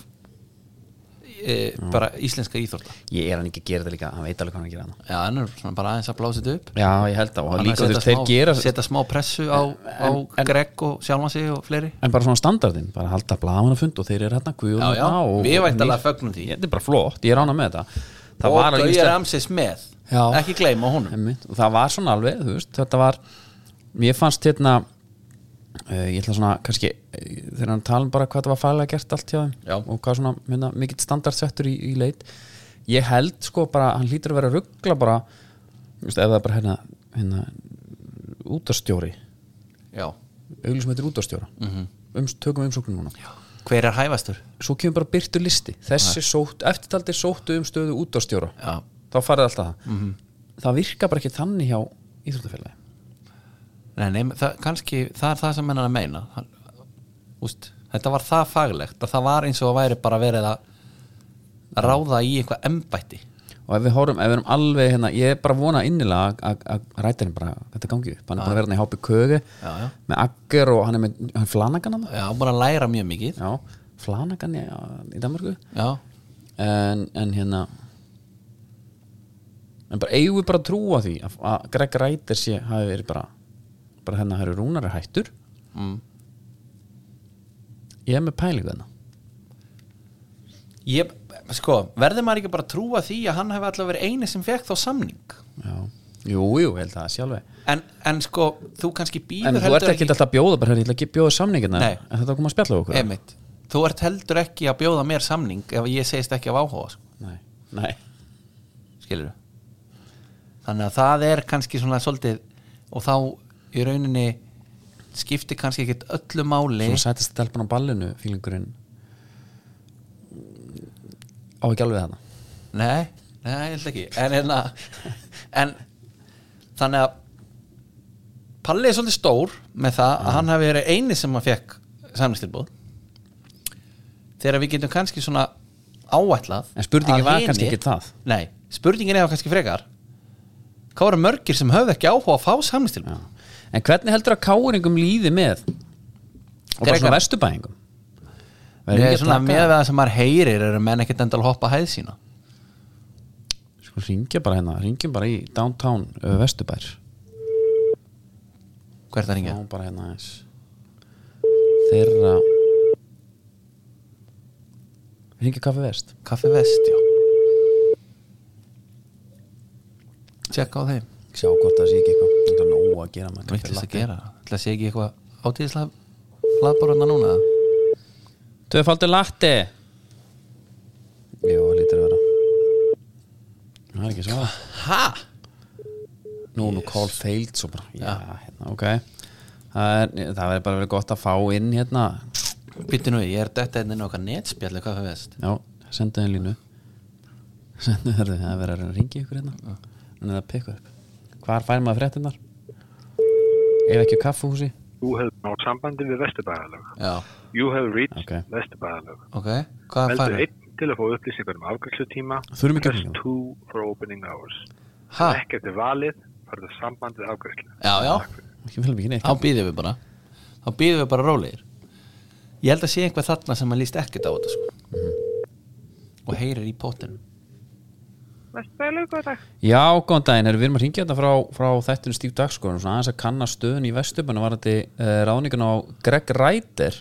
Speaker 1: e, bara íslenska íþórta
Speaker 2: ég er hann ekki að gera þetta líka, hann veit alveg hvað hann er að gera það
Speaker 1: Já, hann er svona bara aðeins að blása þetta upp
Speaker 2: já, ég held það, og
Speaker 1: Hann er að
Speaker 2: líka þú
Speaker 1: setja
Speaker 2: veist, þeir
Speaker 1: smá-
Speaker 2: gera
Speaker 1: Setja smá pressu á, á Greg og sjálfan sig og fleiri
Speaker 2: en bara svona standardin, bara halda blamanafund og þeir eru hérna guðun
Speaker 1: Já, já,
Speaker 2: og,
Speaker 1: við
Speaker 2: og-
Speaker 1: væntanlega fögnum því.
Speaker 2: þetta er bara flott, ég er ána með þetta það
Speaker 1: Og
Speaker 2: var alveg
Speaker 1: Gauja
Speaker 2: íslensk-
Speaker 1: Ramses með
Speaker 2: Já.
Speaker 1: Ekki gleyma honum
Speaker 2: Einmitt, og það var svona alveg, þú veist, þetta var mér fannst hérna uh, ég ætla svona, kannski eh, þegar hann tala um bara hvað það var fælega gert allt hjá þeim
Speaker 1: Já.
Speaker 2: og hvað svona, minna, mikill standardsettur í, í leit ég held sko bara, hann hlýtur að vera að ruggla bara, þú veist, ef það er bara hérna, hérna útastjóri,
Speaker 1: Já,
Speaker 2: auglýsum þetta er útastjóra mm -hmm. tökum umsóknum núna Já.
Speaker 1: hver er hæfastur?
Speaker 2: svo kemur bara byrtu listi þessi sótt, eftirtaldir sóttu um stöðu útastjóra
Speaker 1: Já,
Speaker 2: þá farið alltaf það það virka bara ekki þannig hjá íþróttafélagi
Speaker 1: Nei, nei, það, kannski það er það sem menn er að meina Hann- Úst, Þetta var það faglegt að það var eins og að væri bara verið að ráða í eitthvað embætti
Speaker 2: og ef við horfum, ef við erum alveg hérna ég er bara að vona innilega að- að- að rætarinn bara, þetta gangi upp, hann er bara að vera hann í hápi kögu
Speaker 1: Já, já.
Speaker 2: með agger og hann er með hann flanagan að það,
Speaker 1: Já, bara að læra mjög mikið
Speaker 2: já, flanagan í, í Danmarku
Speaker 1: Já,
Speaker 2: en, en hérna en bara eigum við bara að trúa því að, að Greg Rætar sé hafi verið bara bara hérna, það eru rúnari hættur
Speaker 1: mm.
Speaker 2: ég er með pælingu þarna
Speaker 1: Ég, sko, verður maður ekki bara að trúa því að hann hefði alltaf verið eini sem fekk þá samning
Speaker 2: já, jú, jú, ég held að það sjálfi
Speaker 1: En, en sko, þú kannski býður
Speaker 2: en þú ert ekki alltaf að bjóða bara, hérna, ég ætla ekki að bjóða samningina
Speaker 1: Nei.
Speaker 2: en þetta kom að spjalla við okkur
Speaker 1: Einmitt, Þú ert heldur ekki að bjóða mér samning ef ég segist ekki af áhuga sko.
Speaker 2: nei, nei,
Speaker 1: skilur þannig að það er kannski svona svolítið og þá í rauninni skiptir kannski ekkit öllu máli
Speaker 2: svona sætast stelpan á ballinu fílingurinn á ekki alveg þarna
Speaker 1: nei, nei, ég held ekki en, hérna, en þannig að Palli er svolítið stór með það að hann hafi verið eini sem að fekk samlistilbúð þegar við getum kannski svona áætlað
Speaker 2: en spurningin
Speaker 1: að
Speaker 2: var
Speaker 1: hinir-
Speaker 2: kannski ekki það
Speaker 1: nei, spurningin er kannski frekar hvað voru mörgir sem höfðu ekki áhuga að fá samlistilbúð
Speaker 2: Já. en hvernig heldur að káringum líði með og bara
Speaker 1: Grekar.
Speaker 2: svona vestubæðingum
Speaker 1: Nei, svona með það sem maður heyrir eru menn ekkert endal hoppa hæð sína
Speaker 2: sko ringja bara hérna, ringjum bara í downtown uh, vestubær
Speaker 1: Hvað er það að ringja?
Speaker 2: og bara hérna eins þeirra ringja kaffi vest
Speaker 1: Kaffi Vest, já Tjekka á þeim
Speaker 2: sjá hvort það sé ekki eitthvað það er nóg að gera með
Speaker 1: Vittlis að
Speaker 2: kaffi
Speaker 1: gera Það sé ekki eitthvað átíðislega hlaðborðna núna
Speaker 2: Tvöfaldur latti Jú, lítur að vera Það er ekki svo
Speaker 1: Ha?
Speaker 2: Nú, nú call failed svo bara Já, hérna, ok Það er, það er bara verið gott að fá inn hérna
Speaker 1: Býttu nú, í, ég er detta hérna inn í okkar netspjalli Kaffi Vest
Speaker 2: Já, sendu þeim línu Sendu þeim, það er verið að reyna að ringi ykkur hérna En það pikka upp Hvar fær maður fréttinnar? Ef ekki á kaffuhúsi?
Speaker 5: Þú hefur nátt sambandi við Vesturbæðalög.
Speaker 1: Já,
Speaker 5: You have reached
Speaker 2: Ok.
Speaker 5: okay. Vesturbæðalög.
Speaker 1: ok Hvað
Speaker 5: Veldu
Speaker 1: færum?
Speaker 5: einn til að fá upplýsingar um afgjörslutíma.
Speaker 2: Þurfum ekki
Speaker 5: Press
Speaker 2: upplýsingar.
Speaker 5: 2 for opening hours.
Speaker 1: Ha?
Speaker 5: Ekkert er valið, farðu sambandi við afgjörslu.
Speaker 1: Já, já
Speaker 2: Ekki vel mikið neitt
Speaker 1: Þá býðum við bara Þá býðum við bara rólegir Ég held að sé einhver Mhm. þarna sem maður líst ekkert á þetta sko Og heyrir í potinu
Speaker 6: Vestu hvað er lög góð dag?
Speaker 2: Já, góðan daginn, erum við erum að ringja þetta frá, frá þættinu Stíf Dagskóðan og svona aðeins að kanna stöðun í vestubann og var þetta uh, ráningun á Greg Ræder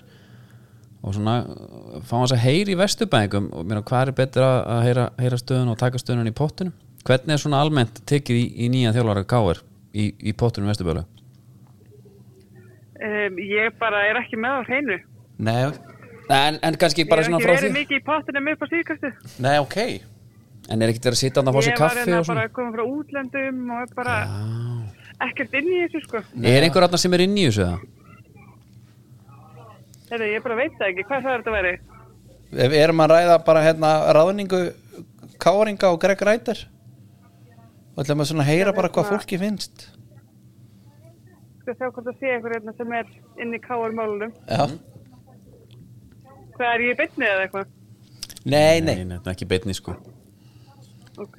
Speaker 2: og svona eh, fá hans að heyri í vestubanngum og mér að hvað er betra að heyra, heyra stöðun og taka stöðun í pottunum? Hvernig er svona almennt tekið í, í nýja þjálfara káir í, í pottunum vestubannu?
Speaker 6: Um, ég bara er ekki með á hreinu.
Speaker 1: Nei,
Speaker 2: En, en kannski
Speaker 6: Ég
Speaker 2: bara
Speaker 6: hef
Speaker 2: svona
Speaker 6: ekki
Speaker 2: frá
Speaker 6: verið
Speaker 2: því
Speaker 6: mikið í pottinum upp á síðkastu.
Speaker 1: nei, ok
Speaker 2: En er ekkert verið að sita þarna að fá sér
Speaker 6: Ég var
Speaker 2: kaffi
Speaker 6: hérna
Speaker 2: og
Speaker 6: bara
Speaker 2: svona?
Speaker 6: að koma frá útlöndum og er bara ekkert inn í þessu sko.
Speaker 2: Er einhver aðna sem er inn í þessu það?
Speaker 6: Þetta ég bara veit það ekki, hvað það er þetta verið?
Speaker 1: Við erum að ræða bara hérna ráðningu Káringa og Greg Ræder og ætlum að svona heyra bara hvað fólki finnst
Speaker 6: Skal sjá hvort það sé eitthvað hérna sem er inn í káarmálunum.
Speaker 1: Já,
Speaker 6: Hvað er ég beinnið eða eitthvað?
Speaker 1: nei, nei
Speaker 2: Nei, þetta er ekki beinni sko
Speaker 6: Ok,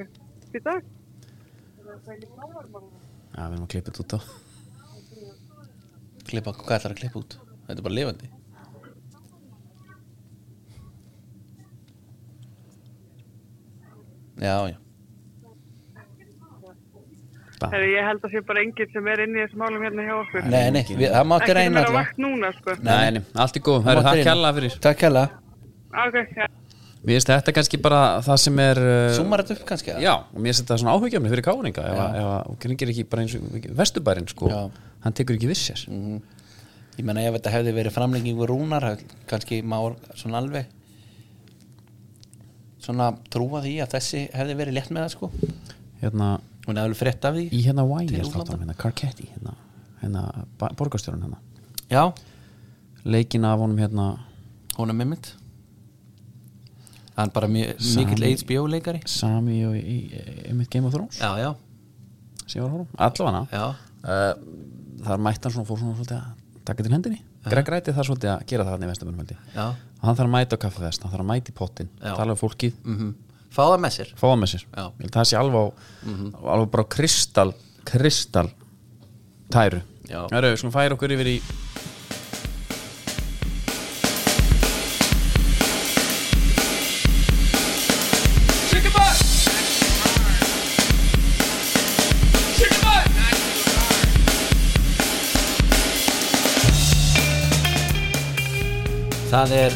Speaker 6: því dag?
Speaker 2: Já, við erum að klippa þetta út á
Speaker 1: Klippa, hvað ætlar að klippa út? Þetta er bara lifandi Já, já
Speaker 6: Þegar ég held að sé bara enginn sem er inn í þessu málum hérna hjá okkur.
Speaker 1: Nei, nei, við, það mátti
Speaker 6: Ekki sem
Speaker 1: reyna
Speaker 6: er á
Speaker 1: allavega.
Speaker 6: vakt núna sko.
Speaker 2: Nei, nei, allt í góðum, það er
Speaker 1: Mátti
Speaker 2: það
Speaker 1: reyna.
Speaker 2: kjalla fyrir
Speaker 1: Takk kjalla
Speaker 6: Ok, já.
Speaker 2: Mér finnst þetta kannski bara það sem er uh,
Speaker 1: Súmar þetta upp kannski eða?
Speaker 2: Já, og mér finnst þetta svona áhugjafni fyrir káninga ef að- ef að- og kringir ekki bara eins og vestubærin sko,
Speaker 1: Já.
Speaker 2: hann tekur ekki vissir mm.
Speaker 1: Ég meina ef þetta hefði verið framlengingu rúnar hefði kannski má svona alveg svona trúa því að þessi hefði verið létt með það sko
Speaker 2: hérna,
Speaker 1: hún hefði alveg frétt af því
Speaker 2: í hérna
Speaker 1: Til
Speaker 2: Wires
Speaker 1: útlanda.
Speaker 2: þáttanum, hérna Carcetti hérna, hérna borgarstjórun hérna
Speaker 1: Já,
Speaker 2: leikin af honum hérna
Speaker 1: hún er mimmit hann bara mjög,
Speaker 2: Sami.
Speaker 1: mikill HBO leikari
Speaker 2: Sami og í, í, í mitt Game of Thrones
Speaker 1: Já, já,
Speaker 2: sem ég var að horfa, allavega hana
Speaker 1: já
Speaker 2: þar mætti hann svona og fór svona svolítið að taka til hendinni Greg Ræti þar svolítið að gera það hann í vestabunum held ég
Speaker 1: Já.
Speaker 2: og hann þarf að mæta á kaffevest, hann þarf að mæta í pottin
Speaker 1: Já.
Speaker 2: tala um fólkið,
Speaker 1: mm Fá það með sér
Speaker 2: fá það með sér
Speaker 1: Já.
Speaker 2: Ég held að það sé alveg, á, alveg bara á kristal kristal tæru
Speaker 1: Já.
Speaker 2: Heru, við skulum færa okkur yfir í
Speaker 1: Það er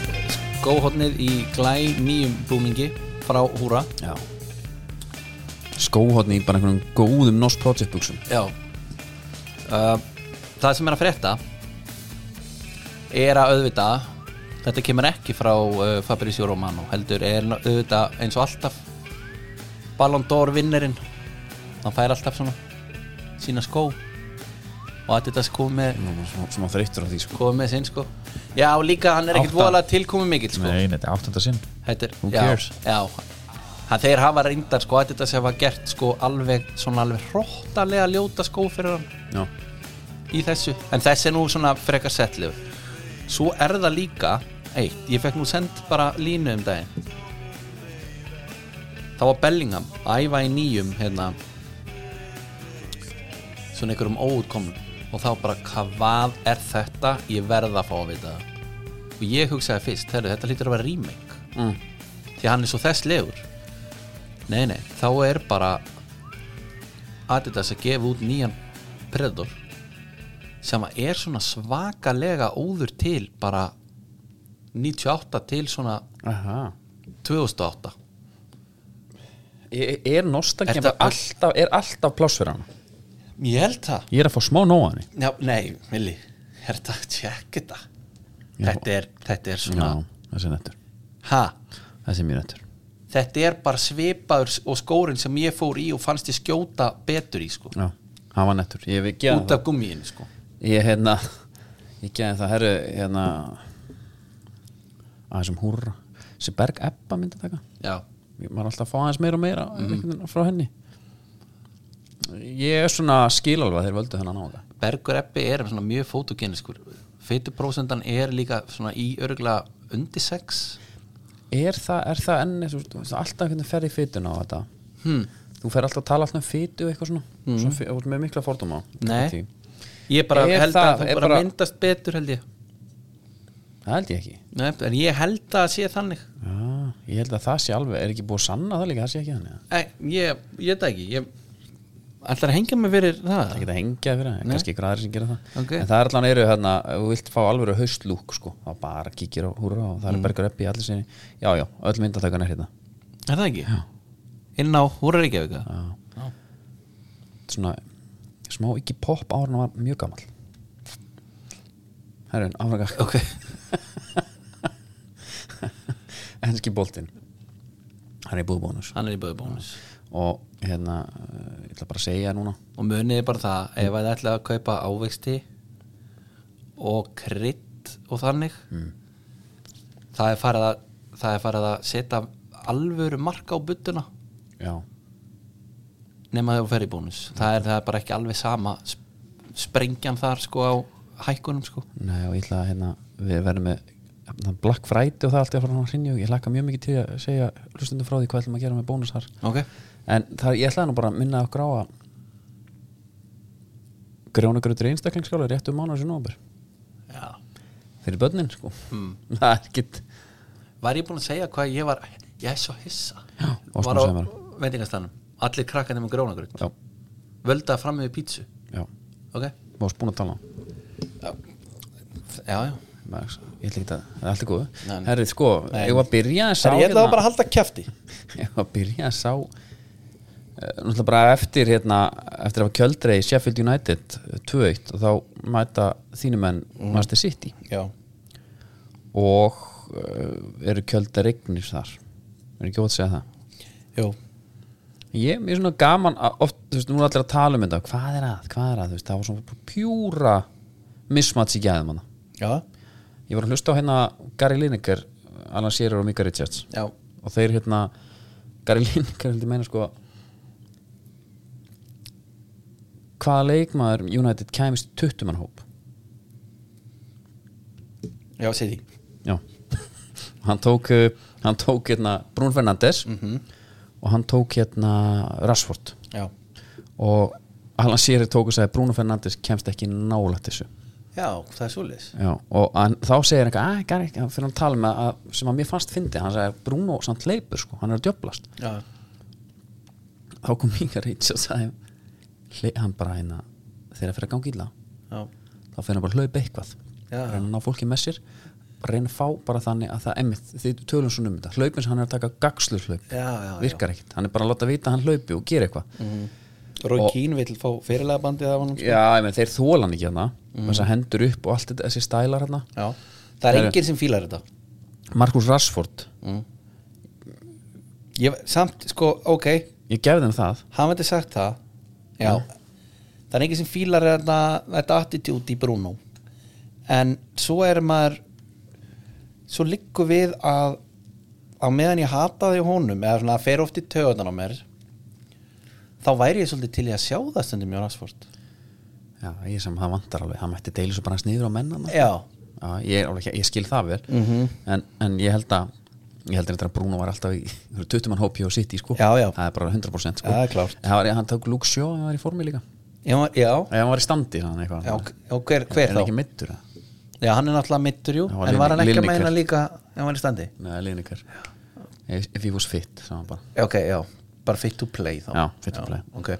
Speaker 1: skóhotnið í glæ nýjum búningi frá Húra
Speaker 2: Já. skóhotni í bara einhvernum góðum NOS Project buksum
Speaker 1: Já uh, Það sem er að frétta er að auðvita þetta kemur ekki frá uh, Fabrizio Romano heldur er auðvita eins og alltaf Ballon d'Or vinnerinn hann fær alltaf svona sína skó og að þetta sko með
Speaker 2: sem að þreyttur á því sko.
Speaker 1: sko með sinn sko Já og líka hann er ekkert
Speaker 7: Átta.
Speaker 1: voðalega tilkomið mikill sko
Speaker 7: Nei, þetta er áttunda sinn
Speaker 1: Þetta er,
Speaker 7: Who
Speaker 1: já,
Speaker 7: cares?
Speaker 1: já hann, Þeir hafa reyndar sko að þetta sem hafa gert sko alveg svona alveg hróttalega ljóta skó fyrir hann
Speaker 2: Já.
Speaker 1: í þessu en þessi er nú svona frekar settlif svo er það líka eitt, ég fekk nú sendt bara línu um daginn það var Bellingham að æfa í nýjum hérna svona einhverjum óutkomnum og þá bara "Hva- hvað er þetta ég verða að fá að vita það og ég hugsaði fyrst, herri, þetta lítur að vera remake
Speaker 2: Mm.
Speaker 1: því að hann er svo þess lefur nei nei, þá er bara Adidas að gefa út nýjan Predator sem að er svona svakalega óður til bara 98 til svona
Speaker 2: Aha.
Speaker 1: 2008
Speaker 2: er, E, er nostalgin
Speaker 1: Þetta-
Speaker 2: bara alltaf, er alltaf pláss fyrir hann
Speaker 1: ég held það
Speaker 2: ég er að fá smá nóa hann
Speaker 1: Já, nei, Milli, herta, tjekk þetta þetta er, þetta er svona
Speaker 2: þessi er nettur
Speaker 1: ha,
Speaker 2: þessi er mjög nettur
Speaker 1: þetta er bara svipaður s- og skórin sem ég fór í og fannst ég skjóta betur í sko,
Speaker 2: Já, hann var nettur Ég hef ekki
Speaker 1: út af gummiðinu sko
Speaker 2: Ég hérna Ég geði það herru hérna aðeins um húrra sem Berg Ebba myndi taka
Speaker 1: já,
Speaker 2: Ég var alltaf að fá aðeins meira og meira mm frá henni Ég er svona skil alveg að þeir völdu þennan áhuga
Speaker 1: Bergur Eppi er svona mjög fotogeniskur fituprósendan er líka svona í örgla undir sex
Speaker 2: Er það, er það enn þú veist, þú veist, alltaf hvernig fer í fytuna á þetta
Speaker 1: Hm.
Speaker 2: hmm. Þú fer alltaf að tala alltaf um fytu og eitthvað svona, mm. svona fyr, og með mikla fordóma á
Speaker 1: Nei, ég bara
Speaker 2: Er
Speaker 1: held
Speaker 2: það-
Speaker 1: að
Speaker 2: er
Speaker 1: þú bara
Speaker 2: bara-
Speaker 1: myndast betur held ég
Speaker 2: Það held ég ekki
Speaker 1: Nei, en ég held að það sé þannig
Speaker 2: Já, ég held að það sé alveg, er ekki búið að sanna það líka, það sé ekki þannig
Speaker 1: Nei, ég, ég veit það ekki ég, Ætlar að hengja mig fyrir það
Speaker 2: Það geta hengja fyrir það,
Speaker 1: Nei.
Speaker 2: kannski ykkur aðri sem gera það
Speaker 1: Ok.
Speaker 2: En það er allan eru hérna, ef þú vilt fá alveg haustlúk sko, þá bara kíkir á húra og
Speaker 1: Mm.
Speaker 2: það er bergur upp í allir sinni Já, já, öll myndatökan er hérna
Speaker 1: Er það ekki? Inn á Húra Reykjavíka
Speaker 2: Svona, smá ekki popp ára hann var mjög gamall Herrun, áfraka
Speaker 1: Ok,
Speaker 2: Enski boltinn Hann er búið bónus
Speaker 1: hann er í böðbónus
Speaker 2: Og hérna, eh, ég ætla bara að segja núna
Speaker 1: Og muniði bara það, ef að þið ætlaði að kaupa ávegsti og krydd og þannig það er farið að það er farið að setja alvöru marka á buttuna
Speaker 2: Já,
Speaker 1: nema þegar þú fer í bónus það er, það er bara ekki alveg sama sp- sprengjan þar sko á hækkunum sko
Speaker 2: nei og ég ætla að hérna Við verðum með hérna, Black Friday og það er alltaf að fara hann að hrinja og ég hlakka mjög mikið til að segja hlustundum frá því hvað ætlum að gera með bónus þar
Speaker 1: ok,
Speaker 2: En það, ég ætlaði nú bara að minna okkur á að grjónagröður í einstaklingskála er rétt um mánuðs í nóber
Speaker 1: já
Speaker 2: fyrir börnin sko
Speaker 1: Hmm.
Speaker 2: það er ekkit
Speaker 1: var ég búin að segja hvað ég var ég er svo hissa
Speaker 2: Já, varst
Speaker 1: var á
Speaker 2: búin að segja mér.
Speaker 1: veitingastanum allir krakkandi með grónagrönd
Speaker 2: já,
Speaker 1: völda fram með pítsu
Speaker 2: já,
Speaker 1: ok,
Speaker 2: mást búin að tala um.
Speaker 1: já, já
Speaker 2: Max, ég ætla ekki að, það er allt í góðu
Speaker 1: Nei, nei.
Speaker 2: herrið sko,
Speaker 1: Nei.
Speaker 2: ég var að byrja hérna- að sá
Speaker 1: að halda kjæfti
Speaker 2: ég var að byrja að sá eh, náttúrulega bara eftir hérna, eftir að hafa kjöldreið í Sheffield United eh, 2-1 og þá mæta þínum enn Master City
Speaker 1: já,
Speaker 2: og uh, eru kjöldaregnir þar er ekki ótt að segja það
Speaker 1: já
Speaker 2: Ég ég er svona gaman að oft, þú veist, nú er allir að tala um þetta hvað er að, hvað er að, þú veist, það var svona pjúra mismats í gæðum hana
Speaker 1: já,
Speaker 2: Ég var að hlusta á hérna Gary Lineker, Alan Shearer og Mika Richards
Speaker 1: já,
Speaker 2: og þeir hérna Gary Lineker heldur meina sko hvaða leikmaður United kæmist í 20 mann hóp
Speaker 1: já, segi því
Speaker 2: Já Hann tók, uh, hann tók hérna Brún Fernandes og hann tók hérna Rashford
Speaker 1: já,
Speaker 2: og Alan Shearer tók og sagði Bruno Fernandes kemst ekki nálætt þessu
Speaker 1: já, það er svoleiðis
Speaker 2: Já, og hann, þá segir hann eitthvað, að, gar ekki, fyrir hann að tala með að, sem að mér fannst fyndi, hann sagði Bruno samt leipur, sko, hann er að djöblast
Speaker 1: já,
Speaker 2: þá kom Mika Reitz og sagði hle- hann bara hérna þegar fyrir að ganga illa,
Speaker 1: já,
Speaker 2: þá fyrir hann bara að hlaupa eitthvað
Speaker 1: Já.
Speaker 2: reyna að ná fólki með sér reyna að fá bara þannig að það emmitt, þið tölum svona um þetta, hlaupin sem hann er að taka gagslur hlaup,
Speaker 1: Já, já, já.
Speaker 2: virkar ekkert hann er bara að láta vita að hann hlaupi og gera eitthvað
Speaker 1: Rói Kín vill fá fyrirlega bandið af honum sko.
Speaker 2: Já, ég menn, þeir þóla hann ekki hann mm. þess að hendur upp og allt þetta, þessi stælar hann
Speaker 1: já, það er
Speaker 2: Herru.
Speaker 1: enginn sem fílar þetta
Speaker 2: Markus Rashford,
Speaker 1: ég, samt, sko, ok
Speaker 2: ég gefði hann það
Speaker 1: hann veitir sagt það já, það er enginn sem fílar þetta, þetta attitude í Bruno en svo er maður svo liggur við að á meðan ég hata því honum eða svona fer oft í töðan á mér þá væri ég svolítið til í að sjá það stundum í Rashford
Speaker 2: Já, ég sem það vantar alveg, hann mætti deilis og bara hans niður á mennana
Speaker 1: já,
Speaker 2: Já, ég, er alveg, ég skil það vel
Speaker 1: Mhm.
Speaker 2: en, en ég held að ég held að Bruno var alltaf í 20 mann hópi og sitt í sko,
Speaker 1: Já, já.
Speaker 2: það er bara 100% sko.
Speaker 1: Það er klárt.
Speaker 2: En það var, hann tók Luke Sjó, hann var í formi líka
Speaker 1: já, já,
Speaker 2: Nei, hann var í standi hann eitthvað
Speaker 1: já og hver,
Speaker 2: Er
Speaker 1: hver
Speaker 2: hann
Speaker 1: þá?
Speaker 2: ekki middur það?
Speaker 1: Já, hann er náttúrulega mittur, jú
Speaker 2: Já, var
Speaker 1: En var hann ekki að
Speaker 2: Lineker.
Speaker 1: meina líka ef hann er í standi?
Speaker 2: Nei, liðningar If if he was fit, sagði hann bara
Speaker 1: Já, Ok, já, bara fit to play þá
Speaker 2: Já, fit to play.
Speaker 1: ok.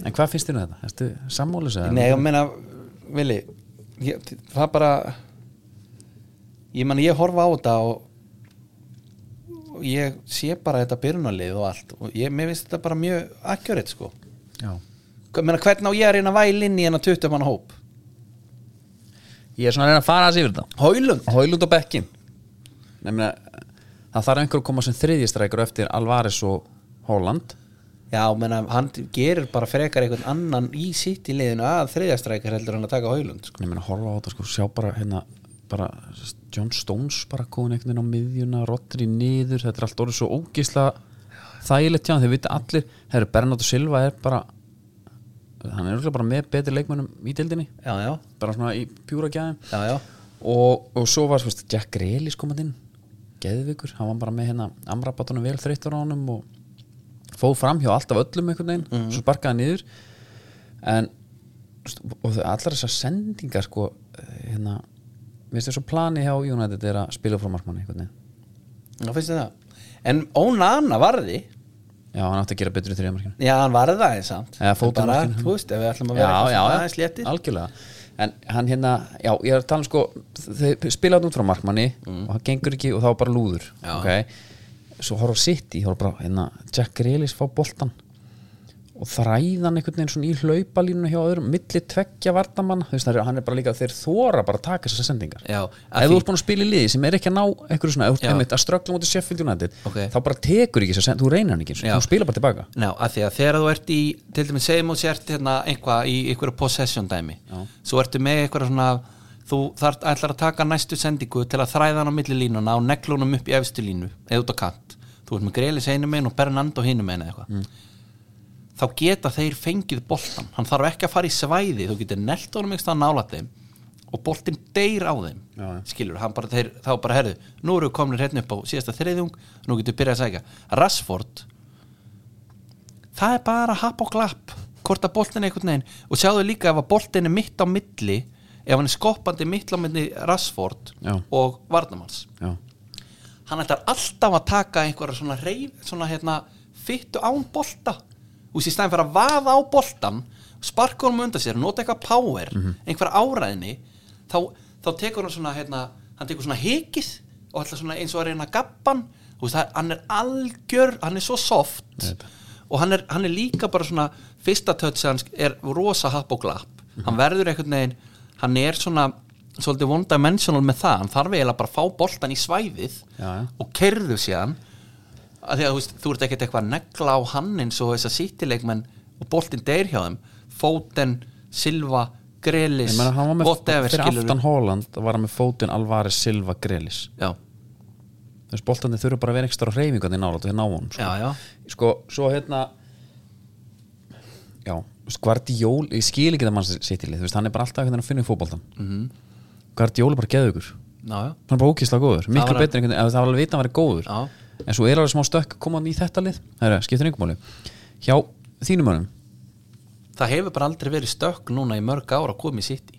Speaker 2: En hvað finnst þér um þetta? Erstu sammális? eða-
Speaker 1: Nei, ég meina, Vili ég, það bara ég meina, ég horfa á þetta og, og ég sé bara þetta byrjunarlið og allt og ég, mér finnst þetta bara mjög akkjörið sko
Speaker 2: Já.
Speaker 1: Ég meina, hvernig á ég að reyna væl inn í hennar 20 manna hóp?
Speaker 2: Ég er svona að reyna að fara að sýfir þetta
Speaker 1: Hólund?
Speaker 2: Hólund og Bekkin Nefna, Það þarf einhver að koma sem þriðjistrækur eftir Alvaris og Holland
Speaker 1: Já, meina, hann gerir bara frekar einhvern annan í sitt í liðinu að þriðjastrækar heldur hann að taka Hólund sko.
Speaker 2: Ég meina horfa á þetta sko, sjá bara hérna bara John Stones bara komin einhvern veginn á miðjuna, Rodri niður þetta er allt orðið svo ógisla þægilegt hjá, hann, þeir vita allir herru Bernardo Silva er bara hann er örugglega bara með betri leikmönnum í dildinni
Speaker 1: Já, já,
Speaker 2: bara svona í pjúra gæðum
Speaker 1: já, já
Speaker 2: og, og svo var svo, Jack Grealis komað inn Geðvikur, hann var bara með hérna amrabatunum vel þreyttur á honum og fóð fram hjá alltaf öllum einhvern veginn svo sparkaði hann niður en st- og þau- allar þessar sendingar sko eh, hérna, mér finnst þess að plani hjá United er að spila frá markmanni einhvern veginn
Speaker 7: Ná finnst þið það En Ónana varði
Speaker 2: Já, hann átti að gera betur í þriðamarkinu
Speaker 7: Já, hann varði það eins samt En
Speaker 2: Eða
Speaker 7: bara,
Speaker 2: fótamarkinu.
Speaker 7: Þú veist, ef við ætlum að vera
Speaker 2: Já,
Speaker 7: eitthvað
Speaker 2: já,
Speaker 7: svona aðeins
Speaker 2: já,
Speaker 7: léttir
Speaker 2: algjörlega En hann hérna, já, ég er að tala um sko Þau spilaði út frá markmanni Og hann gengur ekki og þá bara lúður
Speaker 7: Já.
Speaker 2: okay? Svo horf á City, horf bara hérna, Jack Grealish fá boltan Og þræðan einhvern veginn svona í hlaupalínu hjá öðrum Milli tveggja vartamann Þú veist, það er- hann er bara líka, þeir þóra bara að taka þessar sendingar
Speaker 1: Já, að
Speaker 2: Ef þú
Speaker 1: því-
Speaker 2: ert búin að spila í liði sem er ekki að ná einhverju svona, ef þú ert
Speaker 1: Já.
Speaker 2: einmitt að ströggla mútið Sheffield United,
Speaker 1: Ok.
Speaker 2: þá bara tekur ekki þessar send- þú reynir hann ekki, einu sinni,
Speaker 1: Já.
Speaker 2: þú spila bara tilbaka
Speaker 1: Já, af því að þegar þú ert í til dæmis segjum og sért hérna einhvað í einhverju possession dæmi
Speaker 2: Já.
Speaker 1: svo ertu með einhverja svona þú þart, ætlar að taka næstu sendingu til að þræða hann á milli línuna og neglunum upp í efstu línu eða út á kant þú ert með Grelis einum megin og Bernando hinum megin eða eitthvað
Speaker 2: Mm.
Speaker 1: þá geta þeir fengið boltan hann þarf ekki að fara í svæði þú getur nelt honum einhverstað að nála þeim og boltin deyr á þeim
Speaker 2: Já, já.
Speaker 1: skilur, hann bara, þeir, þá bara herðu nú eru við komnir hérna upp á síðasta þriðjung nú getur við byrjað að segja Rashford það er bara happ og glapp hvort að boltin er einhvern veginn og sjáðu líka ef að boltin er mitt á milli ef hann er skoppandi mitt á milli Rashford
Speaker 2: Já.
Speaker 1: og Vardamanns
Speaker 2: Já.
Speaker 1: hann ætlar alltaf að taka einhverja svona reyf, svona hérna fyttu án bolta úr sér stæðin fyrir að vaða á boltan sparka honum undan sér, nota eitthvað power einhverja áræðinni þá, þá tekur hann svona hérna hann tekur svona hikið og ætlar svona eins og að reyna gappan þú veist, það- hann er algjör, hann er svo soft og hann er, hann er líka bara svona fyrsta tötsi hans er rosa happ og glapp hann verður einhvern veginn hann er svona svolítið one dimensional með það, hann þarf eiginlega bara að fá boltan í svæðið
Speaker 2: Já, já.
Speaker 1: og kerðu síðan að því að þú, veist, þú ert ekkert eitthvað að negla á hann eins og þess að sittileikmenn og boltinn deyr hjá þeim Fóten, Silva, Grelis
Speaker 2: Ég meina, hann var með
Speaker 1: whatever
Speaker 2: fyrir
Speaker 1: skilur
Speaker 2: aftan Holland var hann með fótinn Alvarez Silva Grelis
Speaker 1: já,
Speaker 2: þessi boltandi þurfa bara að vera ekstra á hreyfingandi nála til að ná honum sko.
Speaker 1: já, já,
Speaker 2: sko, svo hérna já, Guardiol ég skil ekki það mann sittilið, hann er bara alltaf einhvern veginn að finna í fótboltan mm
Speaker 1: Mhm.
Speaker 2: -hmm. Guardiol er bara geðugur
Speaker 1: já, já.
Speaker 2: hann er bara ókíslega góður, miklu
Speaker 1: var hann-
Speaker 2: betri einhvern veginn, ef það var alveg vita að vera góður
Speaker 1: Já.
Speaker 2: en svo er alveg smá stökk komaðan í þetta lið Heru, skiptir einhver máli hjá þínum önum
Speaker 1: það hefur bara aldrei verið stökk núna í mörg ára að koma í sitt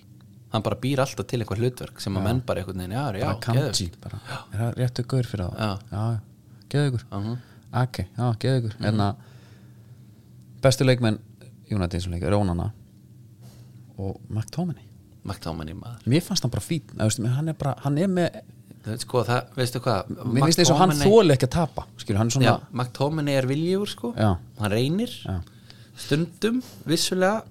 Speaker 1: hann bara býr alltaf til eitthvað hlutverk sem að menn bara einhvern veginn, já, já,
Speaker 2: bara kanji bara, er það réttu gaur fyrir það
Speaker 1: Já. Mhm.
Speaker 2: já, geðu ykkur ok, já, geðu ykkur en að bestu leikmenn United sem leik, Rónana og McTominay
Speaker 1: maktámann í maður
Speaker 2: mér fannst hann bara fín eða, veistu, hann er bara, hann er með
Speaker 1: Þú veist, sko, það, veistu hvað
Speaker 2: mér finnst eins og hann
Speaker 1: McTominay-
Speaker 2: þóli ekki að tapa skilur, hann er svona,
Speaker 1: Já, McTominay er viljúr sko
Speaker 2: Já.
Speaker 1: hann reynir
Speaker 2: Já.
Speaker 1: stundum vissulega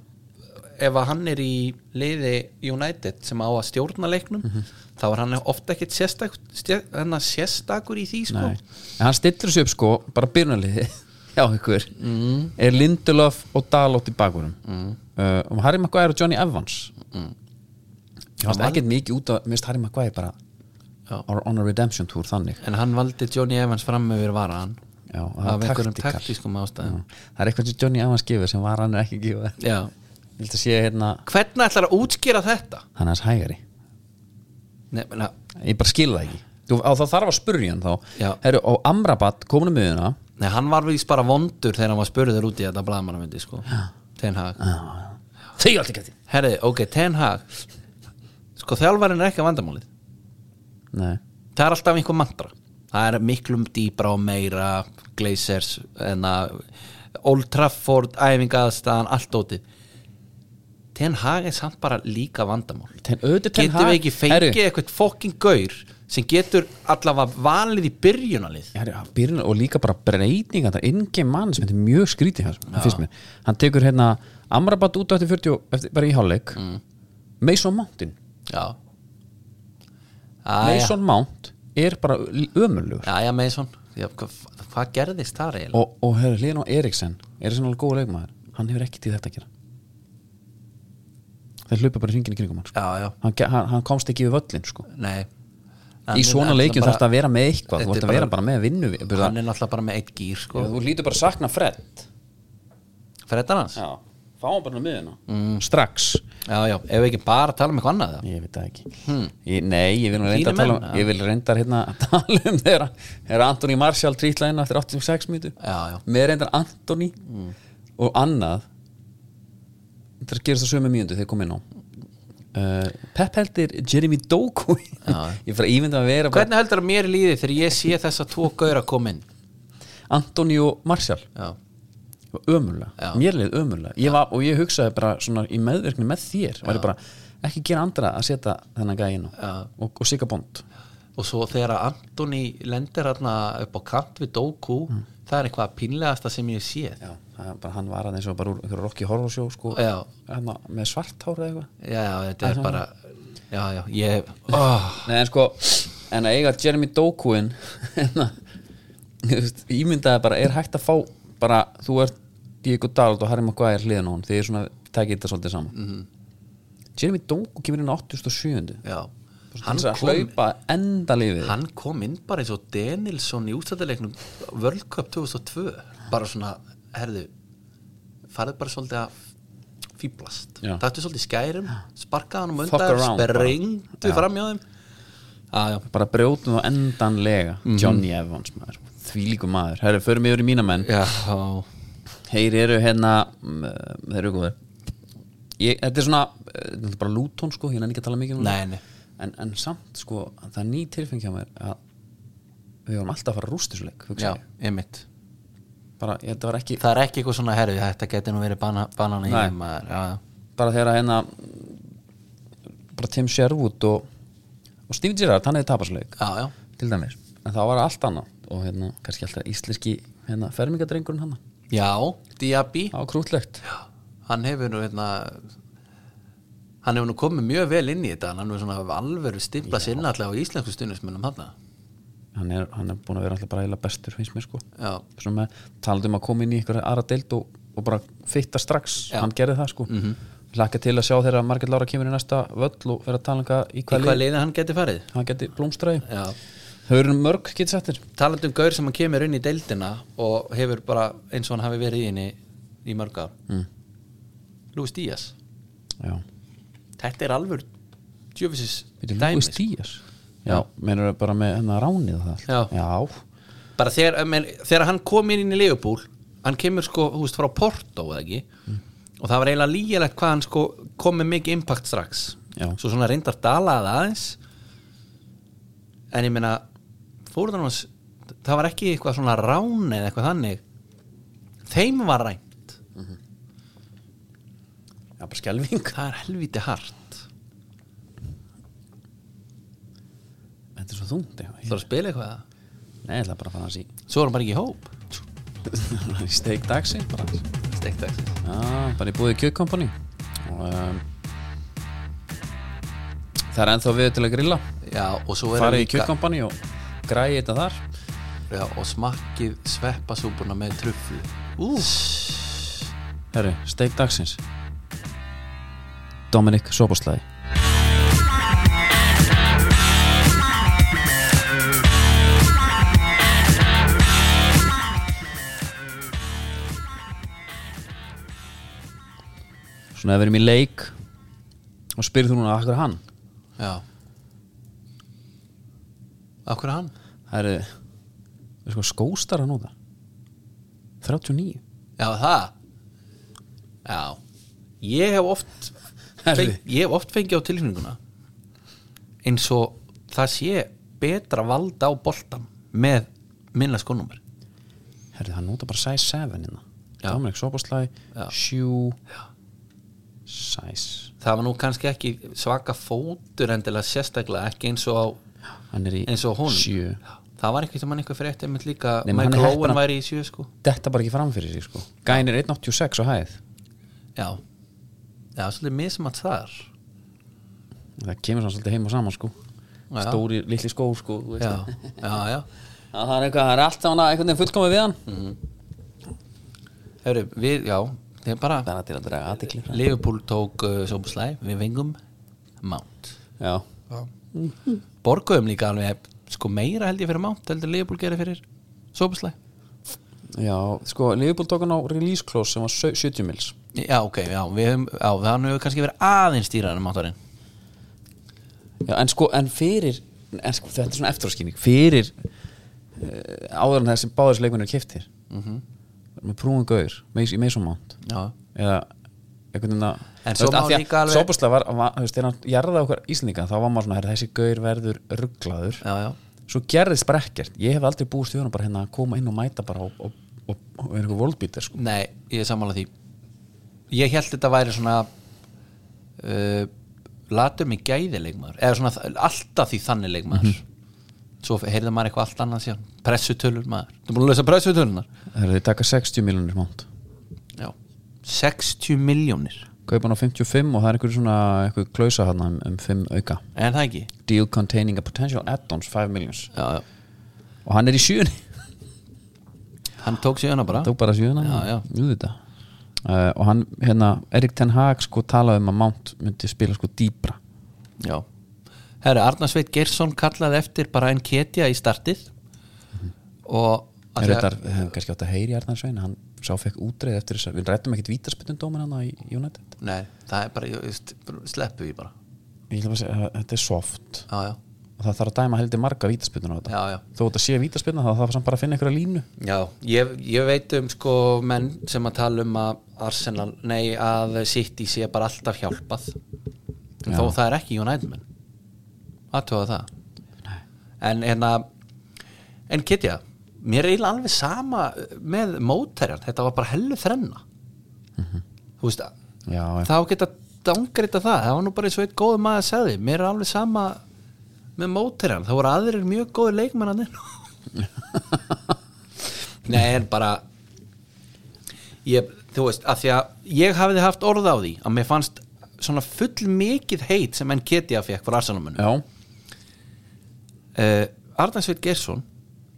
Speaker 1: ef að hann er í liði United sem á að stjórna leiknum
Speaker 2: Mhm.
Speaker 1: þá er hann ofta ekkit sérstak, stjæ, sérstakur í því sko
Speaker 2: nei en hann stillur sér upp sko, bara byrnaliði já, ykkur,
Speaker 1: Mm.
Speaker 2: er Lindelof og Dalot í bakurum mm. uh, og Harry Maguire og Johnny Evans
Speaker 1: Mm.
Speaker 2: ég fannst ekkert mikið út af, mér finnst Harry Maguire bara
Speaker 1: Já.
Speaker 2: or on a redemption tour þannig
Speaker 1: en hann valdi Johnny Evans fram með verið vara hann
Speaker 2: Já, og það
Speaker 1: af
Speaker 2: var
Speaker 1: einhverjum
Speaker 2: taktikar.
Speaker 1: taktískum
Speaker 2: Já.
Speaker 1: ástæðum
Speaker 2: það er eitthvað sem Johnny Evans gefur sem var hann er ekki að gefa ég
Speaker 1: Já.
Speaker 2: held að sé hérna
Speaker 1: hvernig ætlar að útskýra þetta?
Speaker 2: hann er hans hægari
Speaker 1: Nei, na,
Speaker 2: ég bara skil það ekki Þú, á, þá þarf að spurja hann þá
Speaker 1: Já.
Speaker 2: Heru, og Amrabat komin um miðuna
Speaker 1: nei, hann var víst bara vondur þegar hann var spurður út í þetta blaðmannafundi sko Ten Hag
Speaker 2: þau alltaf gæti
Speaker 1: herri, ok, Ten Hag sko þjálfarinn er ekki að vandamálið
Speaker 2: Nei.
Speaker 1: það er alltaf einhver mantra það er miklum dýbra og meira Glazers en að Old Trafford, æfingaðstæðan allt ótið Ten Hag er samt bara líka vandamál
Speaker 2: Ten, auðvitað Ten
Speaker 1: getur
Speaker 2: Hag-
Speaker 1: við ekki fengið
Speaker 2: Heyrðu,
Speaker 1: eitthvað fokkin gaur sem getur allavega valið í byrjunalið
Speaker 2: Já, já, byrjun, og líka bara breyting þetta inngame mann sem þetta er mjög skrítið hans, finnst mér. hann tekur hérna Amrabat út á eftir 40 og- eftir, bara í hálfleik mm. Mason Mountain
Speaker 1: já Æja, Ah,
Speaker 2: Mason Mount er bara ömulugur
Speaker 1: æja Mason já, hvað, hvað gerðist það reyla?
Speaker 2: og, og hérna Lino Eriksen Eriksen er alveg góð leikmaður hann hefur ekkert í þetta að gera þeir hlupa bara hringin í kringum hann, sko.
Speaker 1: Já, já,
Speaker 2: hann, ge- hann, hann komst ekki við völlin sko.
Speaker 1: nei
Speaker 2: í svona leikjum þarf þetta að vera með eitthvað þú
Speaker 1: Þetta
Speaker 2: ert
Speaker 1: er
Speaker 2: að vera
Speaker 1: bara-
Speaker 2: bara með vinnu
Speaker 1: Hann
Speaker 2: hann,
Speaker 1: er náttúrulega bara með eitt gýr sko.
Speaker 2: þú lítur bara að sakna Fred
Speaker 1: Freddan hans?
Speaker 2: já, fá hann bara miðuna mm. strax
Speaker 1: Já, já, ef við ekki bara tala um eitthvað annað það.
Speaker 2: ég veit það ekki ég, nei, ég vil nú reynda
Speaker 1: Þínir
Speaker 2: að tala
Speaker 1: Hmm.
Speaker 2: um
Speaker 1: menn, já.
Speaker 2: ég vil reynda hérna að tala um þeirra er Antoni Marshall trítlæðina eftir 86 mítu
Speaker 1: Já, já. Hmm.
Speaker 2: með reyndar Antoni og annað það gerist á sömu mínundu þegar kom inn á uh, Pep heldir Jeremy Doku
Speaker 1: Já.
Speaker 2: ég fyrir að ímynda að vera bara
Speaker 1: Hvernig heldur að mér líði þegar ég sé þessa tvo gauðra koma inn?
Speaker 2: Antonio Martial
Speaker 1: Já, Já.
Speaker 2: ömurlega, mér leið ömurlega ég var, og ég hugsaði bara svona í meðverkni með þér var ég bara ekki gera andra að setja þennan gæðin
Speaker 1: Já.
Speaker 2: og, og sigga bond
Speaker 1: og svo þegar að Antoni lendir hérna upp á kant við Doku
Speaker 2: Mm.
Speaker 1: það er eitthvað pínlegasta sem ég sé já,
Speaker 2: já, það er bara, hann var aðeins og bara úr einhverju Rocky Horror Show sko,
Speaker 1: Já.
Speaker 2: Þarna með svart hár eða eitthvað
Speaker 1: já, þetta er bara já, já, ég oh,
Speaker 2: Nei, en sko, en að eiga Jeremy Dokuin ímyndaði bara, er hægt að fá bara, þú ert Diego Dald og Harry Maguire hliðin á hún, þið er svona takið þetta svolítið saman Jeremy Doku kemur inn á 87.
Speaker 1: já,
Speaker 2: hann
Speaker 1: Mhm. hann
Speaker 2: að
Speaker 1: kom,
Speaker 2: hlaupa endalífið
Speaker 1: hann kom inn bara eins og Denilson í ústættileiknum World Cup 2002 bara svona, herðu farið bara svolítið að fýblast,
Speaker 2: Já.
Speaker 1: taktu svolítið skærum sparkaði hann um
Speaker 2: Fuck
Speaker 1: undar,
Speaker 2: around bara.
Speaker 1: sprengdu
Speaker 2: Já.
Speaker 1: fram hjá þeim já, já,
Speaker 2: bara brjótum þá endanlega
Speaker 1: Mhm.
Speaker 2: Johnny Evans maður, þvílíku maður herru, förum yfir í mína menn
Speaker 1: já.
Speaker 2: þeir eru hérna mm, þeir eru góðir ég, þetta er svona, eh, þetta er bara Luton sko hérna er ekki að tala mikið um
Speaker 1: Nei,
Speaker 2: það.
Speaker 1: nei.
Speaker 2: En, en samt sko, það er ný tilfeng hjá mér að við vorum alltaf að fara rústisleik
Speaker 1: já, einmitt
Speaker 2: bara, ég, þetta var ekki
Speaker 1: það er ekki eitthvað svona herri þetta geti nú verið bana, banana
Speaker 2: Nei.
Speaker 1: í maður já, já.
Speaker 2: bara þegar að hérna mm, bara Tim Sherwood og, og Steve Gerrard, hann hefði tapasleik
Speaker 1: já, já,
Speaker 2: til dæmis, en það var allt annað og hérna, kannski alltaf íslenski hérna, fermingadrengurinn hann,
Speaker 1: já Diaby,
Speaker 2: það var krútlegt
Speaker 1: hann hefur nú hérna hann hefur nú komið mjög vel inn í þetta hann hefur svona alveru stimplað sér inn alltaf á íslensku stundismennum hann
Speaker 2: hann er, hann er búin að vera alltaf bara eila bestur finnst mér sko
Speaker 1: já,
Speaker 2: Svona með, talandi um að koma inn í einhverja aðra deild og, og bara fitta strax
Speaker 1: Já. Mhm.
Speaker 2: hann gerði það sko mm til að sjá þegar að Margit Lára kemur í næsta völl og vera að tala um hvað í
Speaker 1: í
Speaker 2: hvað
Speaker 1: hvað
Speaker 2: lið
Speaker 1: leiði hann geti farið
Speaker 2: hann geti blómstræði
Speaker 1: já.
Speaker 2: þau eru mörg getur settir
Speaker 1: talandi um gaur sem hann kemur inn í deildina og hefur bara eins og hann hafi verið í henni í mörg ár mm. Lúis Díaz
Speaker 2: já,
Speaker 1: þetta er alvöru djöfisins
Speaker 2: við erum
Speaker 1: dæmi,
Speaker 2: Lúis
Speaker 1: sko.
Speaker 2: Díaz já, mennur það bara með hennar ránið og það allt.
Speaker 1: Já.
Speaker 2: já,
Speaker 1: bara þegar, eh, menn, þegar hann kom inn inn í Leopold hann kemur sko, þú veist, frá Porto eða ekki, og það var eiginlega lígilegt hvað hann sko kom með mikið impact strax
Speaker 2: Já.
Speaker 1: svo svona reyndar dalaði aðeins en ég meina fórðan hans, það var ekki eitthvað svona rán eða eitthvað þannig þeim var rænt
Speaker 2: já bara skelving
Speaker 1: það er helviti hart
Speaker 2: þetta er svo þungt já.
Speaker 1: þú þarf að spila eitthvað
Speaker 2: nei, ég ætla bara að fara að sí
Speaker 1: svo er hann bara ekki í hóp
Speaker 2: í steik dagsinn bara
Speaker 1: Steikt dagsins.
Speaker 2: Já, bara í búið kjöðkompani og um, það er ennþá við til að grilla
Speaker 1: já, og svo er hann
Speaker 2: farið í
Speaker 1: líka
Speaker 2: kjöðkompani og græði þetta þar
Speaker 1: já, og smakkið sveppasúpuna með truflu Úff.
Speaker 2: Herri, steik dagsins Dominik Soboslæði Svona ef við erum í leik og spyrð þú núna akkur hann
Speaker 1: Já Akkur er hann?
Speaker 2: Það eru er sko skóstara nú það 39
Speaker 1: Já, það Já Ég hef oft
Speaker 2: Herði.
Speaker 1: feng, Ég hef oft fengið á tilfinninguna eins og það sé betra valda á boltan með minna skónumar
Speaker 2: Herði, hann nota bara size hérna. 7 innan
Speaker 1: Já.
Speaker 2: Dominik Soboslæði,
Speaker 1: Já.
Speaker 2: 7 Size
Speaker 1: Það var nú kannski ekki svaka fótur endilega sérstaklega ekki eins og á
Speaker 2: Hann er í
Speaker 1: eins og á honum
Speaker 2: 7
Speaker 1: Það var eitthvað sem hann eitthvað frétt einmitt líka
Speaker 2: Nei, menn hann er
Speaker 1: Michael Owen
Speaker 2: heppinn að-
Speaker 1: væri í sjö sko
Speaker 2: Detta bara ekki fram fyrir sig sko Gæn er 1.86 á hæð
Speaker 1: Já Já, svolítið mismat þar
Speaker 2: Það kemur svona svolítið heim og saman sko
Speaker 1: Já.
Speaker 2: Stóri, litli skó sko þú veist
Speaker 1: Já,
Speaker 2: það.
Speaker 1: já, já
Speaker 2: Já, Það er eitthvað, það er alltaf hann að einhvern veginn fullkomið við hann
Speaker 1: Mm. Heru, við, já, það er bara
Speaker 2: Bara til að draga aðtikli
Speaker 1: Liverpool tók uh, Soboslæ við vengum Mount
Speaker 2: Já,
Speaker 1: borguðum líka alveg sko meira held ég fyrir Mount heldur en Liverpool gerir fyrir Soboslæ
Speaker 2: já, sko, Liverpool tók hann á release close sem var sau- 70 mils
Speaker 1: já ok, já, við höfum já, þannig hefur kannski verið aðeins dýrar en Mountarinn
Speaker 2: Já, en sko, en fyrir en sko, þetta er svona eftiráskýning fyrir uh, áður en þessi báðis
Speaker 1: Mhm.
Speaker 2: leikmennir keftir mm -hmm. með prúin gaur, með, í Mason Mount
Speaker 1: já,
Speaker 2: eða einhvern veginn að
Speaker 1: En svo má líka alveg-
Speaker 2: Sopaslega var, var þú veist, þegar hann jarðaði okkar Íslendinga þá var maður svona, herri, þessi gaur verður rugglaður
Speaker 1: já, já,
Speaker 2: svo gerðist bara ekkert ég hef aldrei búist við hann bara hérna að koma inn og mæta bara og, og, og, og vera eitthvað volbítir sko.
Speaker 1: nei, ég er sammála því ég held þetta væri svona uh, latum í gæði leikmaður eða svona þ- alltaf því þannig leikmaður svo heyrði maður eitthvað allt annað síðan pressutölur maður, Mhm. þú er búin að lesa pressutölunar
Speaker 2: Herra, þið taka 60 miljonir mánt
Speaker 1: já, 60 miljónir
Speaker 2: kaupa hann á 55 og það er einhver svona einhver klausa hann um, um 5 auka
Speaker 1: en það ekki
Speaker 2: deal containing a potential add-ons 5 millions
Speaker 1: já, já.
Speaker 2: og hann er í sjöunni
Speaker 1: hann tók sig öna bara
Speaker 2: tók bara sjöuna
Speaker 1: Já, já.
Speaker 2: jú þetta Uh, og hann, hérna, Erik Ten Hag sko talaði um að Mount myndi spila sko dýbra
Speaker 1: Já Herri, Arnar Sveit Geirsson kallaði eftir bara en ketja í startið og af
Speaker 2: Mhm. er
Speaker 1: því að-
Speaker 2: þetta, hefum eh, kannski átt að heyri Arnar Svein hann sá fekk útreið eftir þess að við rættum ekkit vítarspytundómin um hann í United
Speaker 1: Nei, það er bara, ég veist, sleppu því bara
Speaker 2: ég ætla bara að segja, eh, þetta er soft
Speaker 1: Já, já,
Speaker 2: og það þarf að dæma heldur marga vítaspilnur á þetta
Speaker 1: já, já
Speaker 2: þó þetta sé vítaspilna þá þarf samt bara að finna einhverja línu
Speaker 1: Já, ég, ég veit um sko menn sem að tala um að Arsenal, nei, að City sé bara alltaf hjálpað
Speaker 2: Já.
Speaker 1: þó það er ekki United menn aðtóða það en hérna en ketja, mér er eiginlega alveg sama með mótæjar, þetta var bara hellu þrenna þú veist að
Speaker 2: já,
Speaker 1: þá geta dangrita það það var nú bara eins og eitt góð maður sagði mér er alveg sama með mótirjan þá voru aðrir mjög góði leikmennanir nei en bara ég, þú veist, að því að ég hafiði haft orð á því að mér fannst svona full mikið heit sem enn Ketja fekk frá Arsenalmunum
Speaker 2: já,
Speaker 1: uh, Arnarsveit Gersson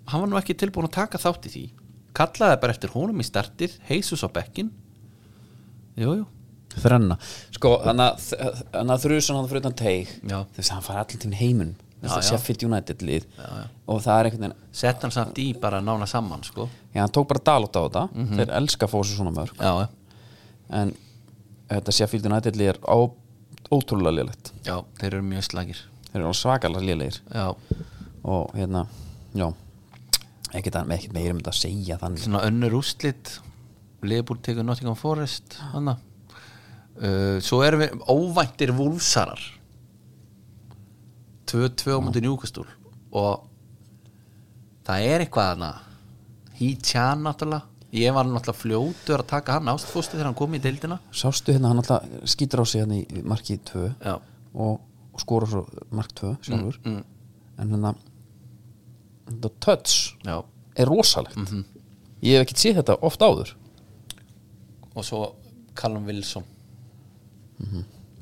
Speaker 1: hann var nú ekki tilbúin að taka þátt í því kallaði bara eftir honum í startið heisus á bekkin jújú,
Speaker 2: þrenna sko, þannig að- þannig að þrjusan hann fyrir utan teig
Speaker 1: Já.
Speaker 2: þú veist, hann fari allir tíminn heiminn Þú veist,
Speaker 1: Já,
Speaker 2: það
Speaker 1: já.
Speaker 2: sé fyrir United lið og það er einhvern veginn
Speaker 1: sett hann samt í bara nána saman sko
Speaker 2: já, hann tók bara dalótt á þetta
Speaker 1: Mhm.
Speaker 2: þeir elska fósu svona mörg
Speaker 1: já,
Speaker 2: en þetta sé fyrir United lið er á, ótrúlega liðlegt
Speaker 1: já, þeir eru mjög slagir
Speaker 2: þeir eru alveg svakalega liðlegir
Speaker 1: já,
Speaker 2: og hérna, já ekkert, að- ekkert meira um þetta að segja þannig
Speaker 1: svona önnur úslit Leifbúl tekur Nottingham Forest hana. Uh, svo erum við óvæntir vúlsarar 2-2 múti njúkastúl og það er eitthvað hana Hítján náttúrulega ég var náttúrulega fljótur að taka hann ástfósti þegar hann kom í deildina
Speaker 2: sástu hérna hann alltaf skýtur á sig hérna í marki 2
Speaker 1: Já.
Speaker 2: og, og skora svo mark 2 sjálfur
Speaker 1: Mm,
Speaker 2: en hérna þetta touch
Speaker 1: já.
Speaker 2: er rosalegt ég hef ekkert séð þetta oft áður
Speaker 1: og svo Callum Wilson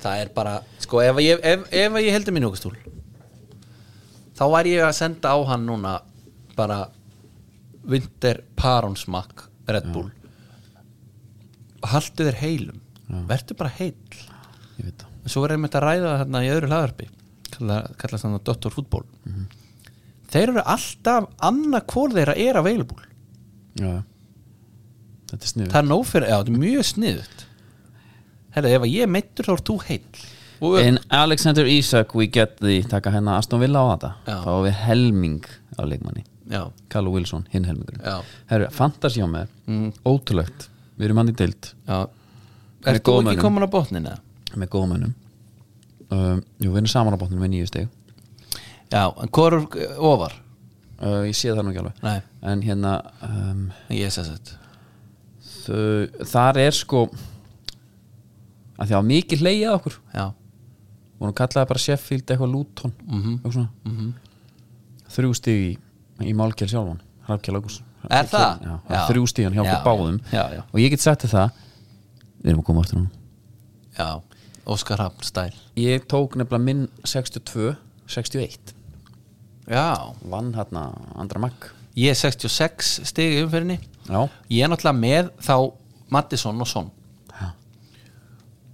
Speaker 1: það er bara sko ef ég, ef, ef ég heldur mér njúkastúl þá var ég að senda á hann núna bara Winter Paronsmakk Red Bull haltu þér heilum vertu bara heil
Speaker 2: ég veit það
Speaker 1: en svo verðum við að ræða þarna í öðru lagarpi kallast þannig að Dottor Fútból þeir eru alltaf annað hvort þeirra er available
Speaker 2: já. já. þetta er sniður
Speaker 1: það er nóg fyrir, já, þetta er mjög sniðut herra, ef að ég er meittur þá er þú heil og
Speaker 2: in Alexander Isak we get the taka hérna Aston Villa á þetta
Speaker 1: Já.
Speaker 2: þá er við helming á leikmanni
Speaker 1: já,
Speaker 2: Callum Wilson, hinn helmingur
Speaker 1: Já.
Speaker 2: herru, fantasi á mér, mm. ótrúlegt við erum hann í deild
Speaker 1: já
Speaker 2: Með
Speaker 1: er þú
Speaker 2: góðmönnum.
Speaker 1: ekki komin á botnin eða?
Speaker 2: með góðum önum um, Jú, við erum saman á bóttinu með nýju stig
Speaker 1: já, en hvað er uh, ofar?
Speaker 2: uh, Ég sé það nú ekki alveg
Speaker 1: Nei.
Speaker 2: En hérna um,
Speaker 1: ég sé þetta
Speaker 2: þau, Þar er sko að því að mikið hleyjað okkur
Speaker 1: já,
Speaker 2: og hún kallaði bara Sheffield eitthvað Luton mm
Speaker 1: Mhm.
Speaker 2: -hmm. mm -hmm. þrjú stig í, í Málkjál sjálfan Hrafkjál Ágúst
Speaker 1: Er það?
Speaker 2: Já,
Speaker 1: Já.
Speaker 2: þrjú stíðan hjá okkur
Speaker 1: Já,
Speaker 2: báðum
Speaker 1: já, já.
Speaker 2: og ég get sagt þér það við erum að koma aftur núna
Speaker 1: já, Óskar Hafn stæl
Speaker 2: ég tók nefnilega minn 62 61
Speaker 1: já,
Speaker 2: vann hérna andra makk
Speaker 1: ég er 66 stig í umferðinni
Speaker 2: já,
Speaker 1: ég er náttúrulega með þá Mattisson og Son
Speaker 2: Já.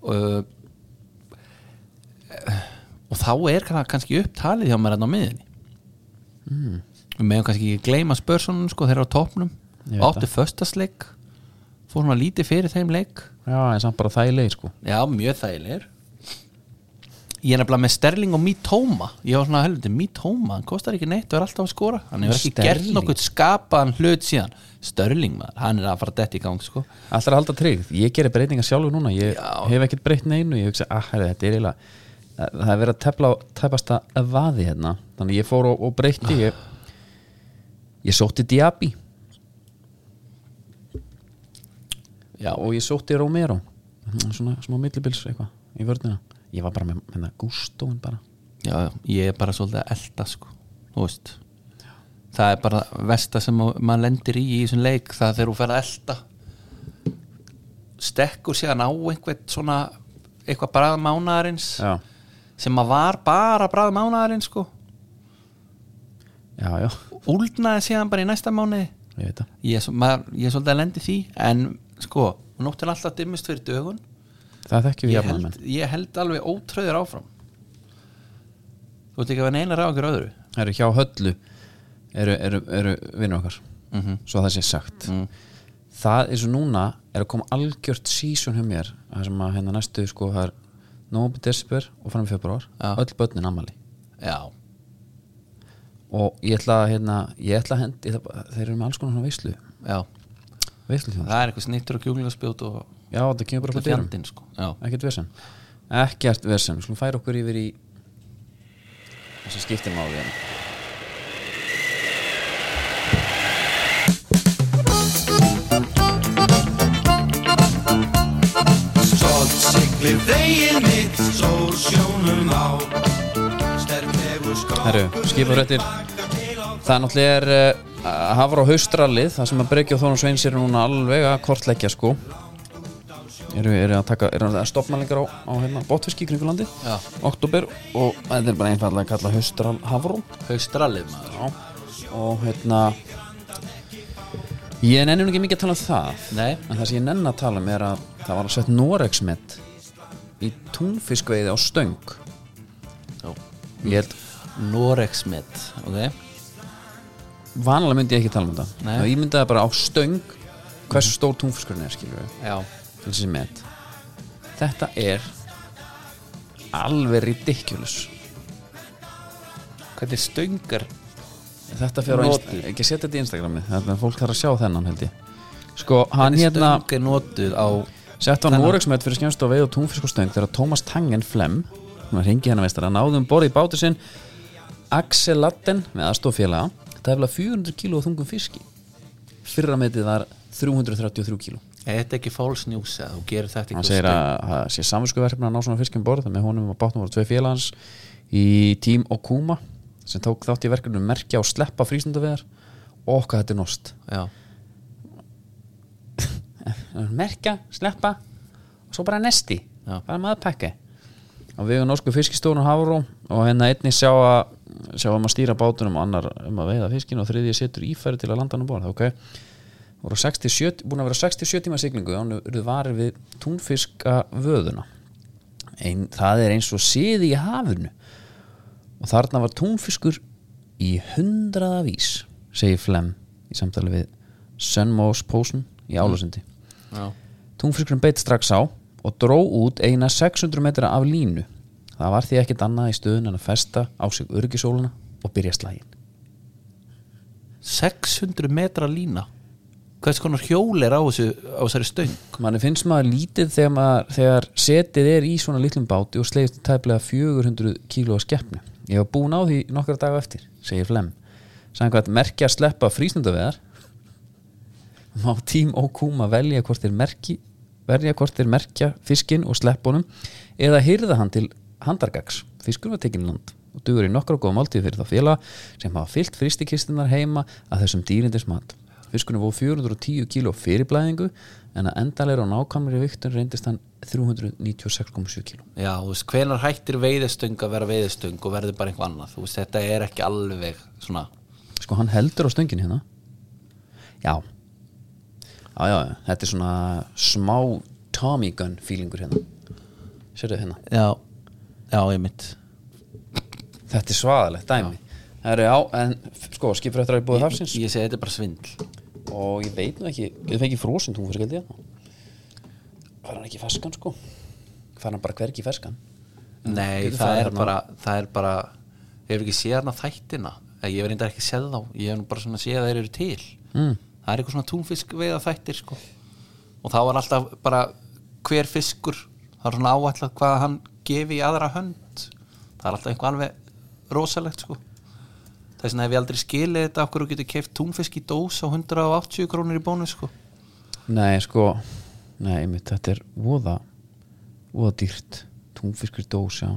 Speaker 1: uh, eh, og þá er kann- kannski upptalið hjá mér enn á miðinni
Speaker 2: Mm.
Speaker 1: við meðum kannski ekki gleyma spörsonum sko þeir eru á topnum
Speaker 2: Ég veit
Speaker 1: áttu föstasleik fór hún að lítið fyrir þeim leik
Speaker 2: já, en samt bara þægileg sko
Speaker 1: já, mjög þægilegir ég er nefnilega með Sterling og Mítóma ég var svona helviti, Mítóma, hann kostar ekki neitt og er alltaf að skora, hann hefur ekki gert
Speaker 2: Sterling.
Speaker 1: nokkuð skapaðan hlut síðan Sterling, maður, hann er að fara dett í gang sko.
Speaker 2: Alltaf að halda tryggð, ég gerir breytingar sjálfur núna ég
Speaker 1: Já.
Speaker 2: hef ekkert breytt neinu ég hugsa, ah, herri, þetta er eiginlega það er verið að tefla á tæpasta vaði hérna, þannig ég fór og, og breytti ég, ég sótti Diaby Já, og ég sótti Romero Hérna, svona smá millibils eitthvað í vörnina, ég var bara með hérna, Gustóin bara,
Speaker 1: já, já, ég er bara svolítið að elda sko. þú veist það er bara versta sem ma- maður lendir í í þessum leik, það er þegar þú fer að elda stekkur síðan á einhvern svona eitthvað brað mánaðarins
Speaker 2: já,
Speaker 1: sem maður var bara brað mánaðarins sko.
Speaker 2: já, já
Speaker 1: úldnaði síðan bara í næsta mánuði
Speaker 2: ég veit það,
Speaker 1: ég, er svo- maður, ég er svolítið að lendi því en sko, nóttin alltaf dimmist fyrir dögun
Speaker 2: það þekkjum við
Speaker 1: ég
Speaker 2: jafnum
Speaker 1: held, ég held alveg ótröður áfram þú ert ekki að vera neina ráð okkur öðru
Speaker 2: eru hjá höllu eru, eru, eru vinnur okkar
Speaker 1: Mhm.
Speaker 2: svo það sé sagt það eins og núna er að koma algjört season hjá mér það sem að hérna næstu sko það er nómbi desibur og fram í februar
Speaker 1: Já.
Speaker 2: öll börnin ammali
Speaker 1: já,
Speaker 2: og ég ætla að hérna ég ætla að hend, ég ætla, bara- þeir eru með alls konar svona veislu
Speaker 1: já,
Speaker 2: veislu þjóð
Speaker 1: það er eitthvað snittur og kjúlingaspjót og
Speaker 2: já þetta kemur bara
Speaker 1: öllu
Speaker 2: frá dyrum
Speaker 1: fjandinn sko já,
Speaker 2: ekkert vesen ekkert vesen, við skulum færa okkur yfir í það sem skiptir máli hérna.
Speaker 8: Stolt siglir veginn mitt, sól sjónum á Sterklegur skákur
Speaker 2: Herru, skipaðrættir Það er náttúrulega er uh, að hafa á haustrallið Það sem að Breki og Þórum Sveins eru núna alveg að kortleggja sko Eru, eru að taka, eru að stopna lengur á, á hérna, botfiski í kringulandi
Speaker 1: Já.
Speaker 2: Oktober og þetta er bara einfallega að kalla haustrall hafró
Speaker 1: haustrallið maður
Speaker 2: Og hérna Ég nenni nú ekki mikið að tala um það
Speaker 1: Nei.
Speaker 2: En það sem ég nenni að tala um er að það var að sett Noregsmet Í túnfiskveiði á stöng
Speaker 1: Já.
Speaker 2: Ég held
Speaker 1: Norexmet, ok
Speaker 2: vanalega myndi ég ekki tala um þetta
Speaker 1: Nei.
Speaker 2: Þá ég myndi það bara á stöng hversu stór túnfiskurinn er skilur við
Speaker 1: já,
Speaker 2: til þessi met þetta er alveg ridiculous
Speaker 1: hvernig stöngar
Speaker 2: þetta fyrir á
Speaker 1: Notuð.
Speaker 2: Instagram ekki setja þetta í Instagrami þannig að fólk þarf að sjá þennan held ég sko hann hérna
Speaker 1: stöng er notuð á
Speaker 2: sett á Noregsmet fyrir skemmst á veið og túnfisk og stöng þegar Thomas Tangen Flem hann ringi hennar veistar að náðum borði í bátu sinn Axel Latten með aðstofélaga þetta hefla 400 kíló af þungum fiski fyrra metið var 333 kíló
Speaker 1: er þetta ekki false news að þú gerir þetta ekki
Speaker 2: hann
Speaker 1: á
Speaker 2: segir
Speaker 1: stöng?
Speaker 2: að það sé samvinskuverfni að ná svona fiskum borð með honum og bátnum voru tvei félagans í Tím og Kuma sem tók þátt í verkefnum merkja og sleppa frístundavegar og hvað þetta er nost
Speaker 1: já,
Speaker 2: Eh, merkja, sleppa og svo bara nesti,
Speaker 1: Já.
Speaker 2: bara maður pakka og við erum norsku fiskistórun Hafró og hérna einni sjá að sjá um að stýra bátunum og annar um að veiða fiskin og þriðja setur ífæri til að landa hann um borð ok, voru 60, búin að vera 67 tíma siglingu og hann eruð varið við túnfiska vöðuna Ein, það er eins og siði í hafinu og þarna var túnfiskur í hundraða vís segir Flem í samtali við Sunmos Pósen í Álasundi
Speaker 1: já,
Speaker 2: Túnfiskurinn beitt strax á og dró út eina 600 metra af línu það var því ekkit annað í stöðun en að festa á sig örgisóluna og byrja slægin
Speaker 1: 600 metra lína hvers konar hjól er á þessu á þessari stöng
Speaker 2: manni finnst maður lítið þegar, maður, þegar setið er í svona litlum báti og slegist tæplega 400 kíló að skeppnu ég var búin á því nokkra daga eftir segir Flem samkvæmt merkja að sleppa frístundaveðar má tím og kúma velja hvort þeir merki velja hvort þeir merkja fiskinn og sleppunum eða hyrða hann til handargags fiskur var tekinn í land og dugur í nokkra góða máltíð fyrir þá félaga sem hafa fyllt fristikistunar heima að þessum dýrindis mat fiskunum voru 410 kíló fyrirblæðingu en að endalega á nákvæmri viktun reyndist hann 396,7 kíló
Speaker 1: Já, þú veist, hvenar hættir veiðistöng að vera veiðistöng og verður bara einhvað annað þú veist, þetta er ekki alveg svona
Speaker 2: sko hann heldur á stöngin hérna já já já, já. þetta er svona smá Tommy Gun feelingur hérna sérðu hérna
Speaker 1: Já, já, einmitt
Speaker 2: Þetta er svaðalegt dæmi Það eru já, en f- sko, skiprættur að búið hafsins
Speaker 1: Ég segi, þetta er bara svindl
Speaker 2: og ég veit nú ekki, ég fengi frósin túnfisk held ég Var hann ekki í ferskan sko? Var hann bara hvergi í ferskan?
Speaker 1: Nei,
Speaker 7: Getur
Speaker 1: það
Speaker 7: farið
Speaker 1: er
Speaker 7: þarna.
Speaker 2: hérna.
Speaker 1: bara það er bara, ég hef ekki séð hana þættina Eh, ég hef reyndar ekki séð þá ég hef nú bara svona séð að þeir eru til mm. það er eitthvað svona túnfisk veiða þættir sko. og þá var alltaf bara hver fiskur, það er svona áætlað hvað hann gefi í aðra hönd það er alltaf eitthvað alveg rosalegt sko. þess vegna hef ég aldrei skilið þetta okkur og getur keift túnfisk í dós á 180 krónur í bónus sko.
Speaker 2: Nei, sko Nei, mitt, þetta er voða voða dýrt, túnfiskur dós já.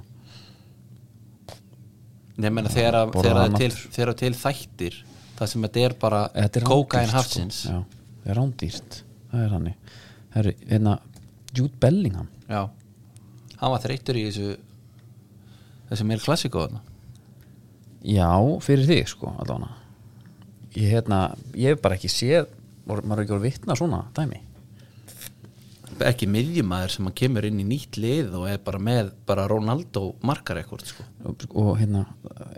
Speaker 1: Nei, menna, þegar, að,
Speaker 2: borða
Speaker 1: þegar, að
Speaker 2: hann
Speaker 1: til,
Speaker 2: aftur.
Speaker 1: þegar að til þættir það sem þetta er bara
Speaker 2: Þetta er
Speaker 1: kókain
Speaker 2: rándýrt,
Speaker 1: hafsins
Speaker 2: sko. Já, það er rándýrt, það er hannig Það er einna Jude Bellingham
Speaker 1: Já, hann var þreyttur í þessu þessu meir klassíku þarna
Speaker 2: Já, fyrir þig sko, allána Ég, hérna, ég hef bara ekki séð voru- maður er ekki voru vitna svona, dæmi
Speaker 1: ekki miðjumæður sem hann kemur inn í nýtt lið og er bara með bara Ronaldo markarekord sko.
Speaker 2: og, og hérna,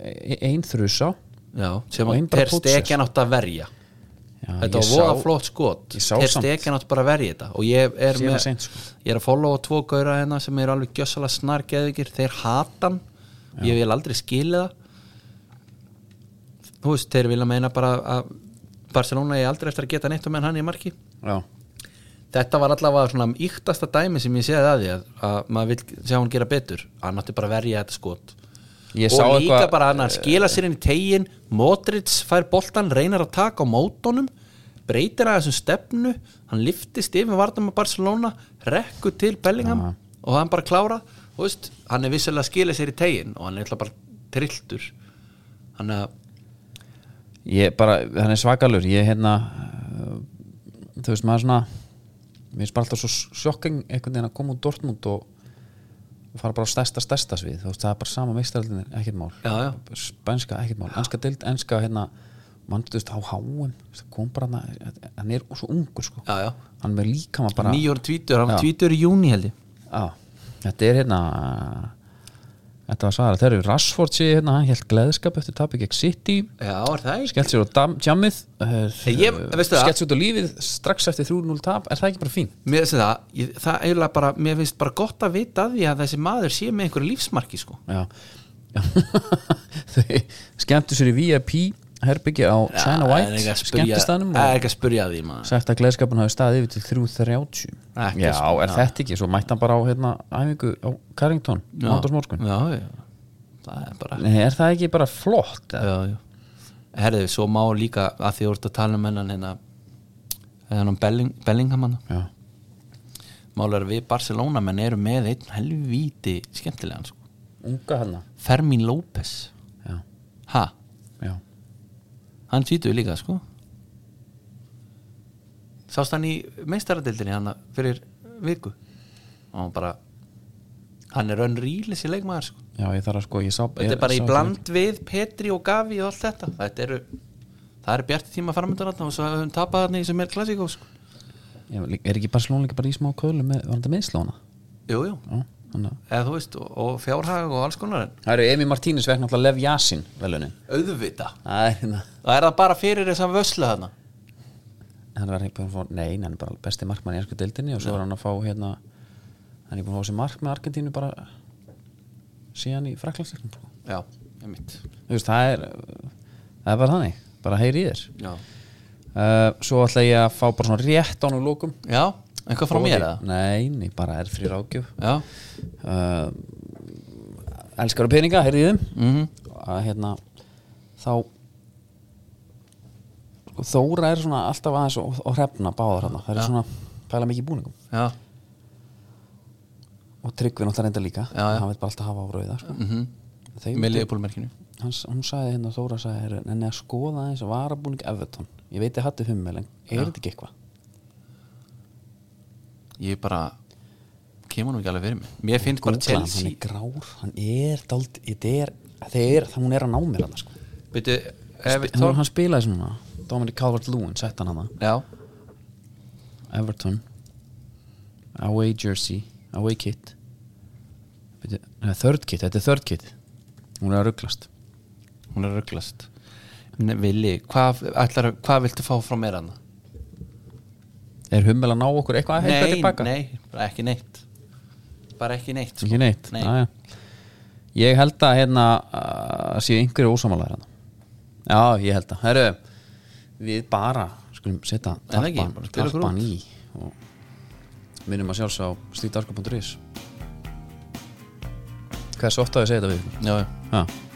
Speaker 2: e- ein þrjusá
Speaker 1: Já, sem
Speaker 2: Og
Speaker 1: hann
Speaker 2: einn bara
Speaker 1: per
Speaker 2: Potser.
Speaker 1: stekjan átt að verja
Speaker 2: Já,
Speaker 1: þetta
Speaker 2: ég
Speaker 1: var voða
Speaker 2: sá-
Speaker 1: flott skot
Speaker 2: ég sá
Speaker 1: per
Speaker 2: samt.
Speaker 1: stekjan átt bara að verja þetta og ég er,
Speaker 2: Sér
Speaker 1: með,
Speaker 2: það seint, sko.
Speaker 1: ég er að followa tvo gauðra hérna sem eru alveg gjössalega snargeðvikir þeir hatan, ég vil aldrei skilja það þú veist, þeir vilja meina bara að Barcelona er aldrei eftir að geta neitt um enn hann í marki
Speaker 2: Já,
Speaker 1: þetta var allavega svona yktasta dæmi sem ég séði að því að, að maður vil sjá hún gera betur hann átti bara að verja þetta skot
Speaker 2: Ég sá
Speaker 1: og líka
Speaker 2: eitthvað-
Speaker 1: bara hann að skila sér inn í tegin Modric fær boltan, reynar að taka á mótonum breytir að þessum stefnu hann liftist yfir vartum að Barcelona rekku til Bellingham og hann bara klára þú veist, hann er vissilega að skila sér í tegin og hann er eitthvað bara trilltur hann að
Speaker 2: ég bara, hann er svakalur ég hérna uh, þú veist maður svona mér finnst bara alltaf svo sjokking einhvern veginn að koma úr Dortmund og, og fara bara á stærsta stærsta svið þú veist það er bara sama meistaraldin ekkert mál
Speaker 1: Já, já.
Speaker 2: spænska ekkert mál, enska dild, enska hérna mann, þú veist á háum kom bara hann, hann er svo ungur sko
Speaker 1: Já, já.
Speaker 2: hann er líka maður bara
Speaker 1: nýjór tvítur, hann
Speaker 2: Já.
Speaker 1: var tvítur í júni held ég
Speaker 2: Já, þetta er hérna þetta var svara, þegar Rashford sé hérna, hann held gleðskap eftir tapi gegn City
Speaker 1: já, er það ekki?
Speaker 2: skellt sér á dam- jammið eh,
Speaker 1: Ég- veistu það?
Speaker 2: skellt sér út á lífið strax eftir 3-0 tap er það ekki bara fín?
Speaker 1: Mér finnst það, ég, það eiginlega bara mér finnst bara gott að vita að því að þessi maður sé með einhverju lífsmarki sko
Speaker 2: Já þau skemmtu sér í VIP herbyggja á China
Speaker 1: Það er ekki
Speaker 2: White
Speaker 1: að spyrja-
Speaker 2: skemmtistanum
Speaker 1: það er
Speaker 2: og
Speaker 1: ekki að spyrja að því maður
Speaker 2: sagt að gleðskapin hafi staðið yfir til 3.30
Speaker 1: Ekki sko,
Speaker 2: Já,
Speaker 1: að
Speaker 2: er þetta ekki? Svo mætti hann bara á hérna, æfingu á Carrington
Speaker 1: Já.
Speaker 2: mándagsmorgun
Speaker 1: já, já, það er bara
Speaker 2: Er það ekki bara flott? eða?
Speaker 1: já, já. herðu, svo má líka að því þú ert að tala um hennan hérna hennan Belling, Bellingham hann
Speaker 2: Já.
Speaker 1: málar við Barcelona menn eru með einn helvíti skemmtilegan sko
Speaker 2: Unga hana
Speaker 1: Fermin López,
Speaker 2: Já,
Speaker 1: ha,
Speaker 2: já
Speaker 1: hann tvítuð líka sko sást hann í meistaradildinni hann fyrir viku og hann bara hann er önn rýlis í leikmaður sko.
Speaker 2: Já, ég þarf að sko, ég sá
Speaker 1: þetta er bara í bland við Petri og Gavi og allt þetta þetta eru það eru bjarti tíma framöndan þarna og svo höfum tapað þarna í sem er klassíkó sko.
Speaker 2: ég, Er ekki Barcelona líka bara í smá köðlu með, var þetta meðslóna?
Speaker 1: jú, jú,
Speaker 2: Já, þannig að
Speaker 1: eða þú veist og, og fjárhag og alls konar en
Speaker 2: Það eru Emi Martínez vekk náttúrulega Lev Yasin velunin
Speaker 1: auðvita,
Speaker 2: Það er hérna
Speaker 1: það er það bara fyrir þessan vöslu þarna
Speaker 2: Hann var ekki búin að fá, nei, hann er bara besti markmann í ersku deildinni og svo var hann að fá hérna Hann er búin að fá sér mark með Argentínu bara síðan í fraklagsleiknum sko.
Speaker 1: já, einmitt
Speaker 2: Þú veist, það er það er bara þannig, bara heyri í þér
Speaker 1: já,
Speaker 2: uh, Svo ætla ég að fá bara svona rétt án og lókum
Speaker 1: já eitthvað frá mér eða
Speaker 2: Nei, nei, bara er þrjir ágjöf
Speaker 1: já,
Speaker 2: uh, elskar og peninga, heyrðu í þeim
Speaker 1: mhm
Speaker 2: að hérna þá sko, Þóra er svona alltaf aðeins og, og hrefna báðar hérna, það er svona pæla mikið í búningum
Speaker 1: já,
Speaker 2: og Tryggvi náttúrulega reynda líka
Speaker 1: Já, Mhm. já.
Speaker 2: hann veit bara alltaf hafa á rauða sko. mm
Speaker 1: með liðbólmerkinu
Speaker 2: hans, hún sagði hérna, Þóra sagði hérna, en að skoða aðeins varabúning Everton, ég veit ég hattu hummel en er þetta ekki eitthvað?
Speaker 1: ég bara kemur nú ekki alveg fyrir mig mér finnst bara
Speaker 2: Googla hann, hann
Speaker 1: Chelsea
Speaker 2: er grár, hann er dald, þetta er, þeir, það hún er að ná mér hann sko.
Speaker 1: Beidu,
Speaker 2: Sp-
Speaker 1: Everton
Speaker 2: hann spilaði svona, Dominic Calvert-Lewin sett hann hann
Speaker 1: já,
Speaker 2: Everton Away jersey Away kit Bíddu, nei, Third kit, þetta er third kit Hún er að rugglast
Speaker 1: hún er rugglast Nei, Vili, hvað ætlar, hvað viltu fá frá mér hann?
Speaker 2: Er hummel að ná okkur eitthvað að heita
Speaker 1: Nei,
Speaker 2: tilbaka?
Speaker 1: nei, bara ekki neitt bara ekki neitt, sko.
Speaker 2: Ekki neitt,
Speaker 1: Nei.
Speaker 2: aðja Ég held að hérna að séu einhverju ósámálaðir hérna. Já, ég held að Heru, Við bara skulum setja
Speaker 1: Er það ekki?
Speaker 2: tappan,
Speaker 1: Bara spila okkur
Speaker 2: tappan í og minnum að sjálfs á slítarka.is Hversu oft að ég segi þetta við?
Speaker 1: já, já.
Speaker 2: Já,